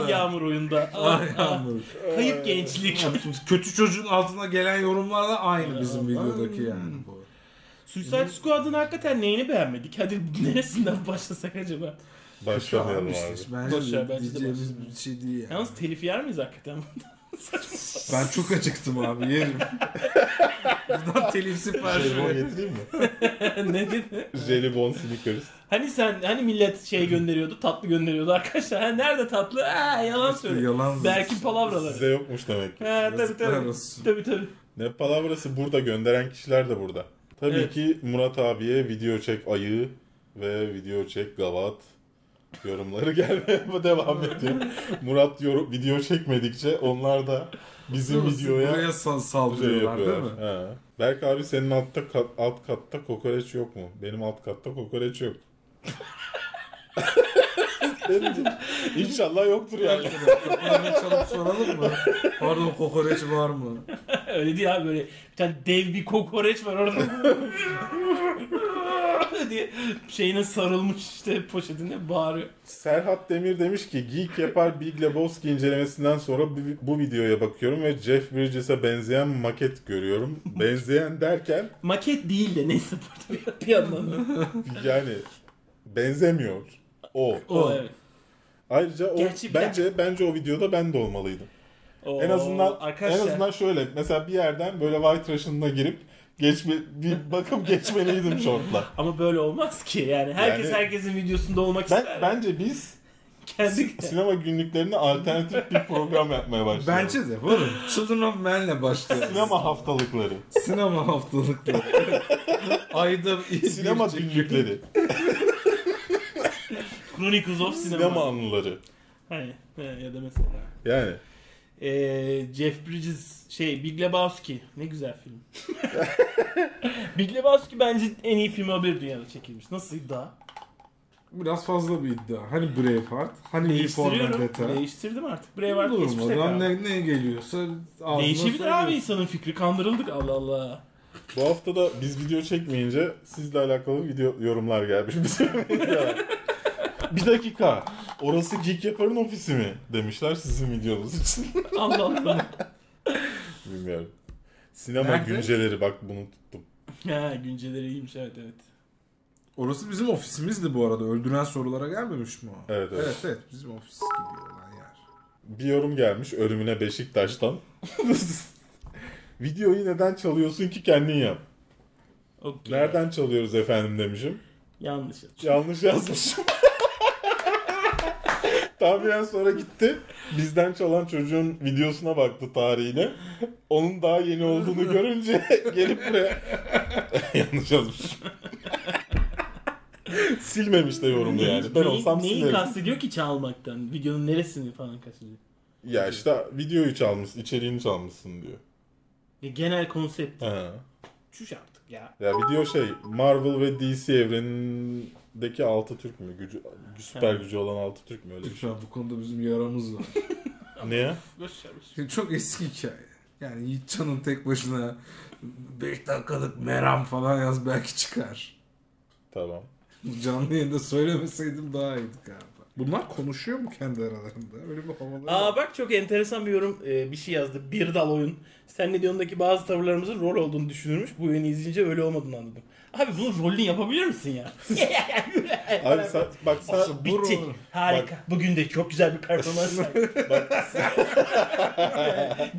Yağmur ya, oyunda. E, ah yağmur oyunda. Ah, Ay ah. yağmur. Kayıp gençlik. Kötü çocuğun altına gelen yorumlar da aynı bizim videodaki yani bu. Suicide Squad'ın hakikaten neyini beğenmedik? Hadi neresinden başlasak acaba? Başlamayalım Abi işte abi. Bence Boş ver, de bence de diyeceğimiz başlayalım. bir şey değil yani. Yalnız telif yer miyiz hakikaten? Ben çok acıktım abi yerim. Buradan telif Şey, Jelibon siparişi. getireyim mi? ne dedi? Jelibon Snickers. Hani sen hani millet şey gönderiyordu, tatlı gönderiyordu arkadaşlar. Ha, nerede tatlı? Ha, yalan söylüyor. Yalan. Belki palavraları. Size yokmuş demek ki. Ha, tabii Yazıklar tabii. olsun. Tabii tabii. Ne palavrası burada gönderen kişiler de burada. Tabii Evet. ki Murat abiye video çek ayı ve video çek gavat yorumları gelmeye devam ediyor. Murat yor- video çekmedikçe onlar da bizim videoya Buraya sal- şey saldırıyorlar değil mi? yapıyorlar. He. Berk abi senin altta kat- alt katta kokoreç yok mu? Benim alt katta kokoreç yok. İnşallah yoktur yani. Kapılarını çalıp soralım mı? Pardon kokoreç var mı? Öyle değil abi böyle bir tane dev bir kokoreç var orada. diye şeyine sarılmış işte poşetine bağırıyor. Serhat Demir demiş ki Geek Yapar Big Lebowski incelemesinden sonra bu, bu videoya bakıyorum ve Jeff Bridges'e benzeyen maket görüyorum. Benzeyen derken Maket değil de neyse burada bir, bir yandan. da. yani benzemiyor. O. O evet. Ayrıca o Gerçi bir bence bence o videoda ben de olmalıydım. O, en azından arkadaşlar, en azından şöyle mesela bir yerden böyle white Russian'ına girip geçme bir bakıp geçmeliydim şortla. ama böyle olmaz ki yani. Herkes Yani- herkesin videosunda olmak Ben ister. bence biz Kendi sinema günlüklerine alternatif bir program yapmaya başlayalım. Bence de. Varım. Children of Man'le başlayalım. sinema haftalıkları. Sinema haftalıkları. Ayda bir- Sinema bir- günlükleri. Chronicles of Cinema. Sinema anıları. Hani he, ya da mesela. Yani. Ee, Jeff Bridges şey Big Lebowski ne güzel film. Big Lebowski bence en iyi film haber dünyada çekilmiş. Nasıl iddia? Biraz fazla bir iddia. Hani Braveheart, hani V for Vendetta. Değiştiriyorum. Değiştirdim artık. Braveheart geçmiş Olur tekrar. mu? Ne, ne geliyorsa ağzına Değişebilir abi söylüyorsun. insanın fikri. Kandırıldık Allah Allah. Bu hafta da biz video çekmeyince sizle alakalı video yorumlar gelmiş bize. bir dakika. Orası Geek Yapar'ın ofisi mi? Demişler sizin videonuz için. Allah Allah. Bilmiyorum. Sinema Nerede? günceleri bak bunu tuttum. ha, günceleri iyiymiş evet evet. Orası bizim ofisimizdi bu arada. Öldüren sorulara gelmemiş mi o? Evet, evet. Evet evet bizim ofis gibi olan yer. Bir yorum gelmiş ölümüne Beşiktaş'tan. Videoyu neden çalıyorsun ki kendin yap. Okey. Nereden çalıyoruz efendim demişim. Yanlış. yapmış. Yanlış yazmışım. Tahminen sonra gitti. Bizden çalan çocuğun videosuna baktı tarihine. Onun daha yeni olduğunu görünce gelip buraya... Yanlış yazmışım. Silmemiş de yorumlu yani. Ben Neyi- olsam Neyi silerim. kastediyor ki çalmaktan? Videonun neresini falan kastediyor? Ya işte videoyu çalmışsın, içeriğini çalmışsın diyor. Ya genel konsept. Ha. Çüş artık ya. Ya video şey Marvel ve DC evrenindeki altı Türk mü? Gücü, süper gücü olan altı Türk mü? Öyle bir şey. Şu an bu konuda bizim yaramız var. Niye? Boş ver, boş ver. Şimdi çok eski hikaye. Yani Yiğitcan'ın tek başına 5 dakikalık meram falan yaz belki çıkar. Tamam. Canlı yayında söylemeseydim daha iyiydi galiba. Bunlar konuşuyor mu kendi aralarında? Öyle bir havaları Aa var. bak çok enteresan bir yorum e, bir şey yazdı. Bir dal oyun. Sen ne diyondaki bazı tavırlarımızın rol olduğunu düşünürmüş. Bu yayını izleyince öyle olmadığını anladım. Abi bunun rolünü yapabilir misin ya? Abi sen, bak sen, Bitti. Harika. Bugün de çok güzel bir performans sergiledik.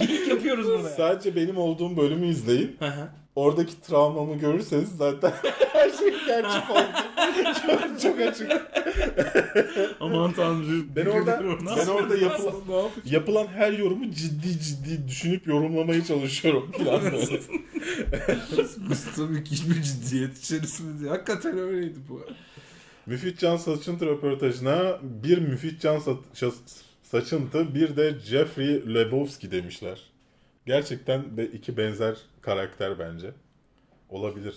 Geyik yapıyoruz bunu. ya. sadece benim olduğum bölümü izleyin. Hı hı. Oradaki travmamı görürseniz zaten her şey gerçek oldu. çok, çok açık. Aman tanrım. Ben orada ben orada yapılan, Ne yapayım? yapılan her yorumu ciddi ciddi düşünüp yorumlamaya çalışıyorum falan böyle. Biz tabii ki hiçbir ciddiyet içerisinde değil. Hakikaten öyleydi bu. Müfit Can Saçıntı röportajına bir Müfit Can Sa- Şa- Saçıntı bir de Jeffrey Lebowski demişler. Gerçekten de iki benzer karakter bence. Olabilir.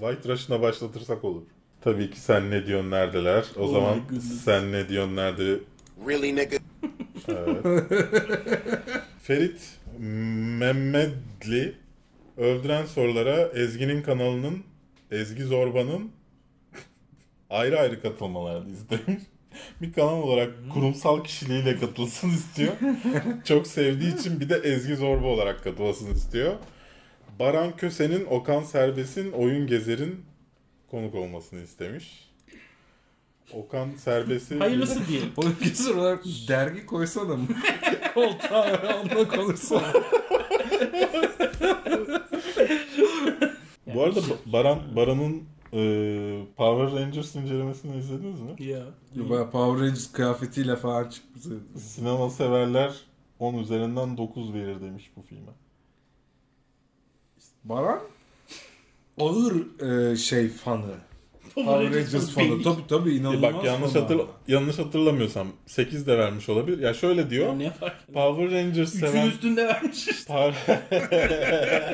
White Russian'a başlatırsak olur. Tabii ki sen ne diyorsun neredeler. O zaman sen ne diyorsun nerede Really, nigga? Ferit Mehmetli öldüren sorulara Ezgi'nin kanalının Ezgi Zorba'nın ayrı ayrı katılmalarını istemiş. Bir kanal olarak kurumsal kişiliğiyle katılsın istiyor. Çok sevdiği için bir de Ezgi Zorba olarak katılsın istiyor. Baran Köse'nin, Okan Serbest'in, Oyun Gezer'in konuk olmasını istemiş. Okan Serbest'i... Hayırlısı diyelim. Onun kesin olarak dergi koysana mı? Koltuğa ve onunla konuşsana. Bu arada şey- Ba- Baran Baran'ın e, Power Rangers incelemesini izlediniz mi? Ya. Bayağı Power Rangers kıyafetiyle falan çıktı. Sinema severler 10 üzerinden 9 verir demiş bu filme. Baran ağır e, şey fanı. Power Power Rangers fanı. benim. Tabii tabii E inanılmaz bak yanlış fanı. hatır yanlış hatırlamıyorsam 8 de vermiş olabilir. Ya şöyle diyor. Ya Ne fark eder? Power Rangers Üçün seven üstünde vermiş işte. Power...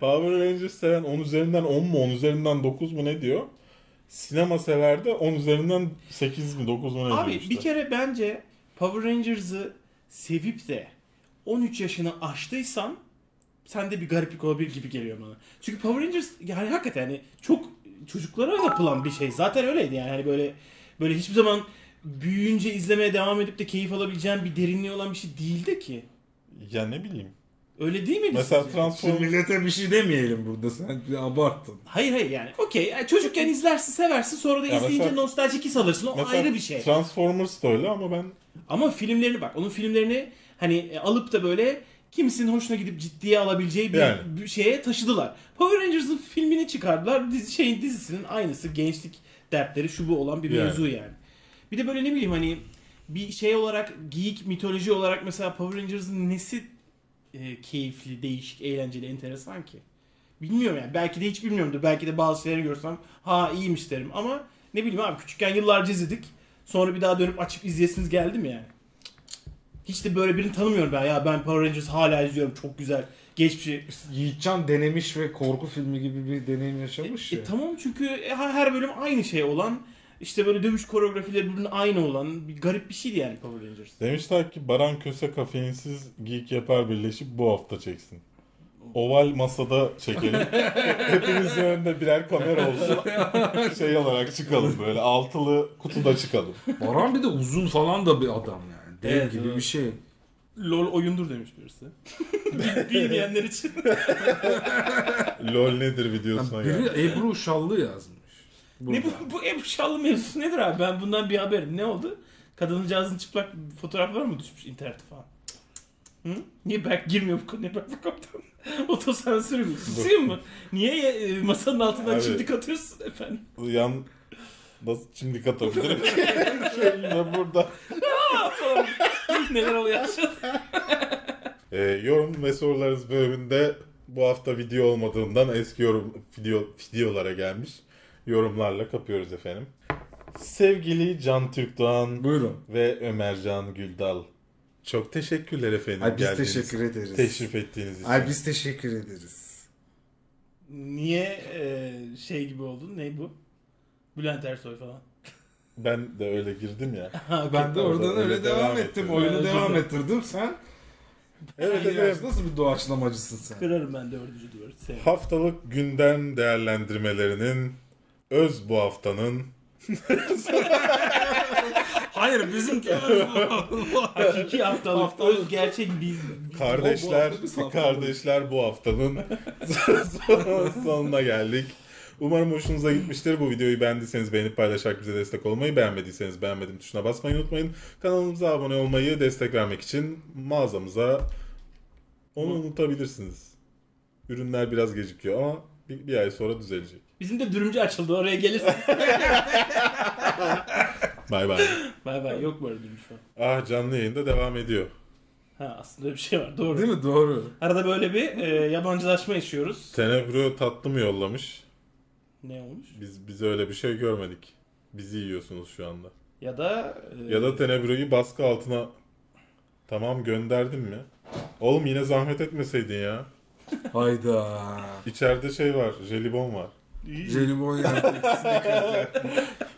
Power Rangers seven 10 üzerinden 10 mu 10 üzerinden 9 mu ne diyor? Sinema sever de 10 üzerinden 8 mi 9 mu ne Abi diyor işte. bir kere bence Power Rangers'ı sevip de 13 yaşını aştıysan sende bir gariplik olabilir gibi geliyor bana. Çünkü Power Rangers yani hakikaten hani çok çocuklara yapılan bir şey. Zaten öyleydi yani hani böyle böyle hiçbir zaman büyüyünce izlemeye devam edip de keyif alabileceğin bir derinliği olan bir şey değildi ki. Ya ne bileyim. Öyle değil miydi? Mesela sizce? Şimdi Transformers millete bir şey demeyelim burada. Sen bir abarttın. Hayır hayır yani okey yani çocukken izlersin seversin sonra da Ya izleyince mesela- nostaljik his alırsın o mesela ayrı bir şey. Transformers da öyle ama ben Ama filmlerini bak onun filmlerini hani e, alıp da böyle kimsenin hoşuna gidip ciddiye alabileceği bir, Yani. bir şeye taşıdılar. Power Rangers'ın filmini çıkardılar. Dizi, şeyin dizisinin aynısı gençlik dertleri şu bu olan bir Yani. mevzu yani. Bir de böyle ne bileyim hani bir şey olarak geek mitoloji olarak mesela Power Rangers'ın nesi e, keyifli, değişik, eğlenceli, enteresan ki? Bilmiyorum yani. Belki de hiç bilmiyorumdur. Belki de bazı şeyleri görsem ha iyiymiş derim ama ne bileyim abi küçükken yıllarca izledik. Sonra bir daha dönüp açıp izleyesiniz geldi mi yani? Hiç de böyle birini tanımıyorum ben ya. Ben Power Rangers hala izliyorum. Çok güzel. Geçmişi. Yiğitcan denemiş ve korku filmi gibi bir deneyim yaşamış E, ya. tamam çünkü e, her her bölüm aynı şey olan işte böyle dövüş koreografileri birbirine aynı olan bir garip bir şeydi yani Power Rangers. demişler ki Baran Köse kafeinsiz Geek Yapar birleşip bu hafta çeksin. Oval masada çekelim. Hepimizin önünde birer kamera olsun. Şey olarak çıkalım böyle altılı kutuda çıkalım. Baran bir de uzun falan da bir adam yani. Dev Evet, gibi evet. bir şey. LOL oyundur demiş birisi. Bilmeyenler için. LOL nedir videosuna Biri geldi. Ebru Şallı yazmış. ne bu, bu Ebru Şallı mevzusu nedir abi? Ben bundan bir haberim. Ne oldu? Kadıncağızın çıplak fotoğrafları mı düşmüş internete falan? Hı? Niye Berk girmiyor bu konuya Berk Kaptan? Otosansürü mü? Susayım mı? Niye e, masanın altından Abi. çimdik atıyorsun efendim? Yan nasıl şimdi katabilirim ki? Şöyle burada. Falan. Neler oluyor aşağıda? Ee, yorum ve sorularınız bölümünde bu hafta video olmadığından eski yorum video videolara gelmiş yorumlarla kapıyoruz efendim. Sevgili Can Türkdoğan Buyurun. ve Ömercan Güldal. Çok teşekkürler efendim. Ay biz geldiğiniz- teşekkür ederiz. Teşrif ettiğiniz için. Ay biz teşekkür ederiz. Niye e, şey gibi oldun? Ne bu? Bülent Ersoy falan. Ben de öyle girdim ya. Ben de Orada oradan öyle devam ettim. ettirdim. Oyunu Evet, devam özür ettirdim sen. Evet İğrenç, evet. Nasıl bir doğaçlamacısın sen? Kırarım ben dördüncü duvarı. Sevmem. Haftalık gündem değerlendirmelerinin öz bu haftanın Hayır bizimki Hakiki haftalık. Öz gerçek biz. Kardeşler, Bu- bu hafta biz kardeşler bu haftanın sonuna geldik. Umarım hoşunuza gitmiştir. Bu videoyu beğendiyseniz beğenip paylaşarak bize destek olmayı, beğenmediyseniz beğenmedim tuşuna basmayı unutmayın. Kanalımıza abone olmayı destek vermek için mağazamıza onu unutabilirsiniz. Ürünler biraz gecikiyor ama bir, bir ay sonra düzelecek. Bizim de dürümcü açıldı oraya gelirsin. Bay bay. bay bay yok bu arada dürümcü falan. Ah canlı yayında devam ediyor. Ha aslında öyle bir şey var doğru. Değil mi? Doğru. Arada böyle bir e, yabancılaşma yaşıyoruz. Tenebro tatlı mı yollamış? Ne olmuş? Biz biz öyle bir şey görmedik. Bizi yiyorsunuz şu anda. Ya da e, Ya da Tenebro'yu baskı altına tamam gönderdim mi? Oğlum yine zahmet etmeseydin ya. Hayda. İçeride şey var, jelibon var. Jelibon yaptı.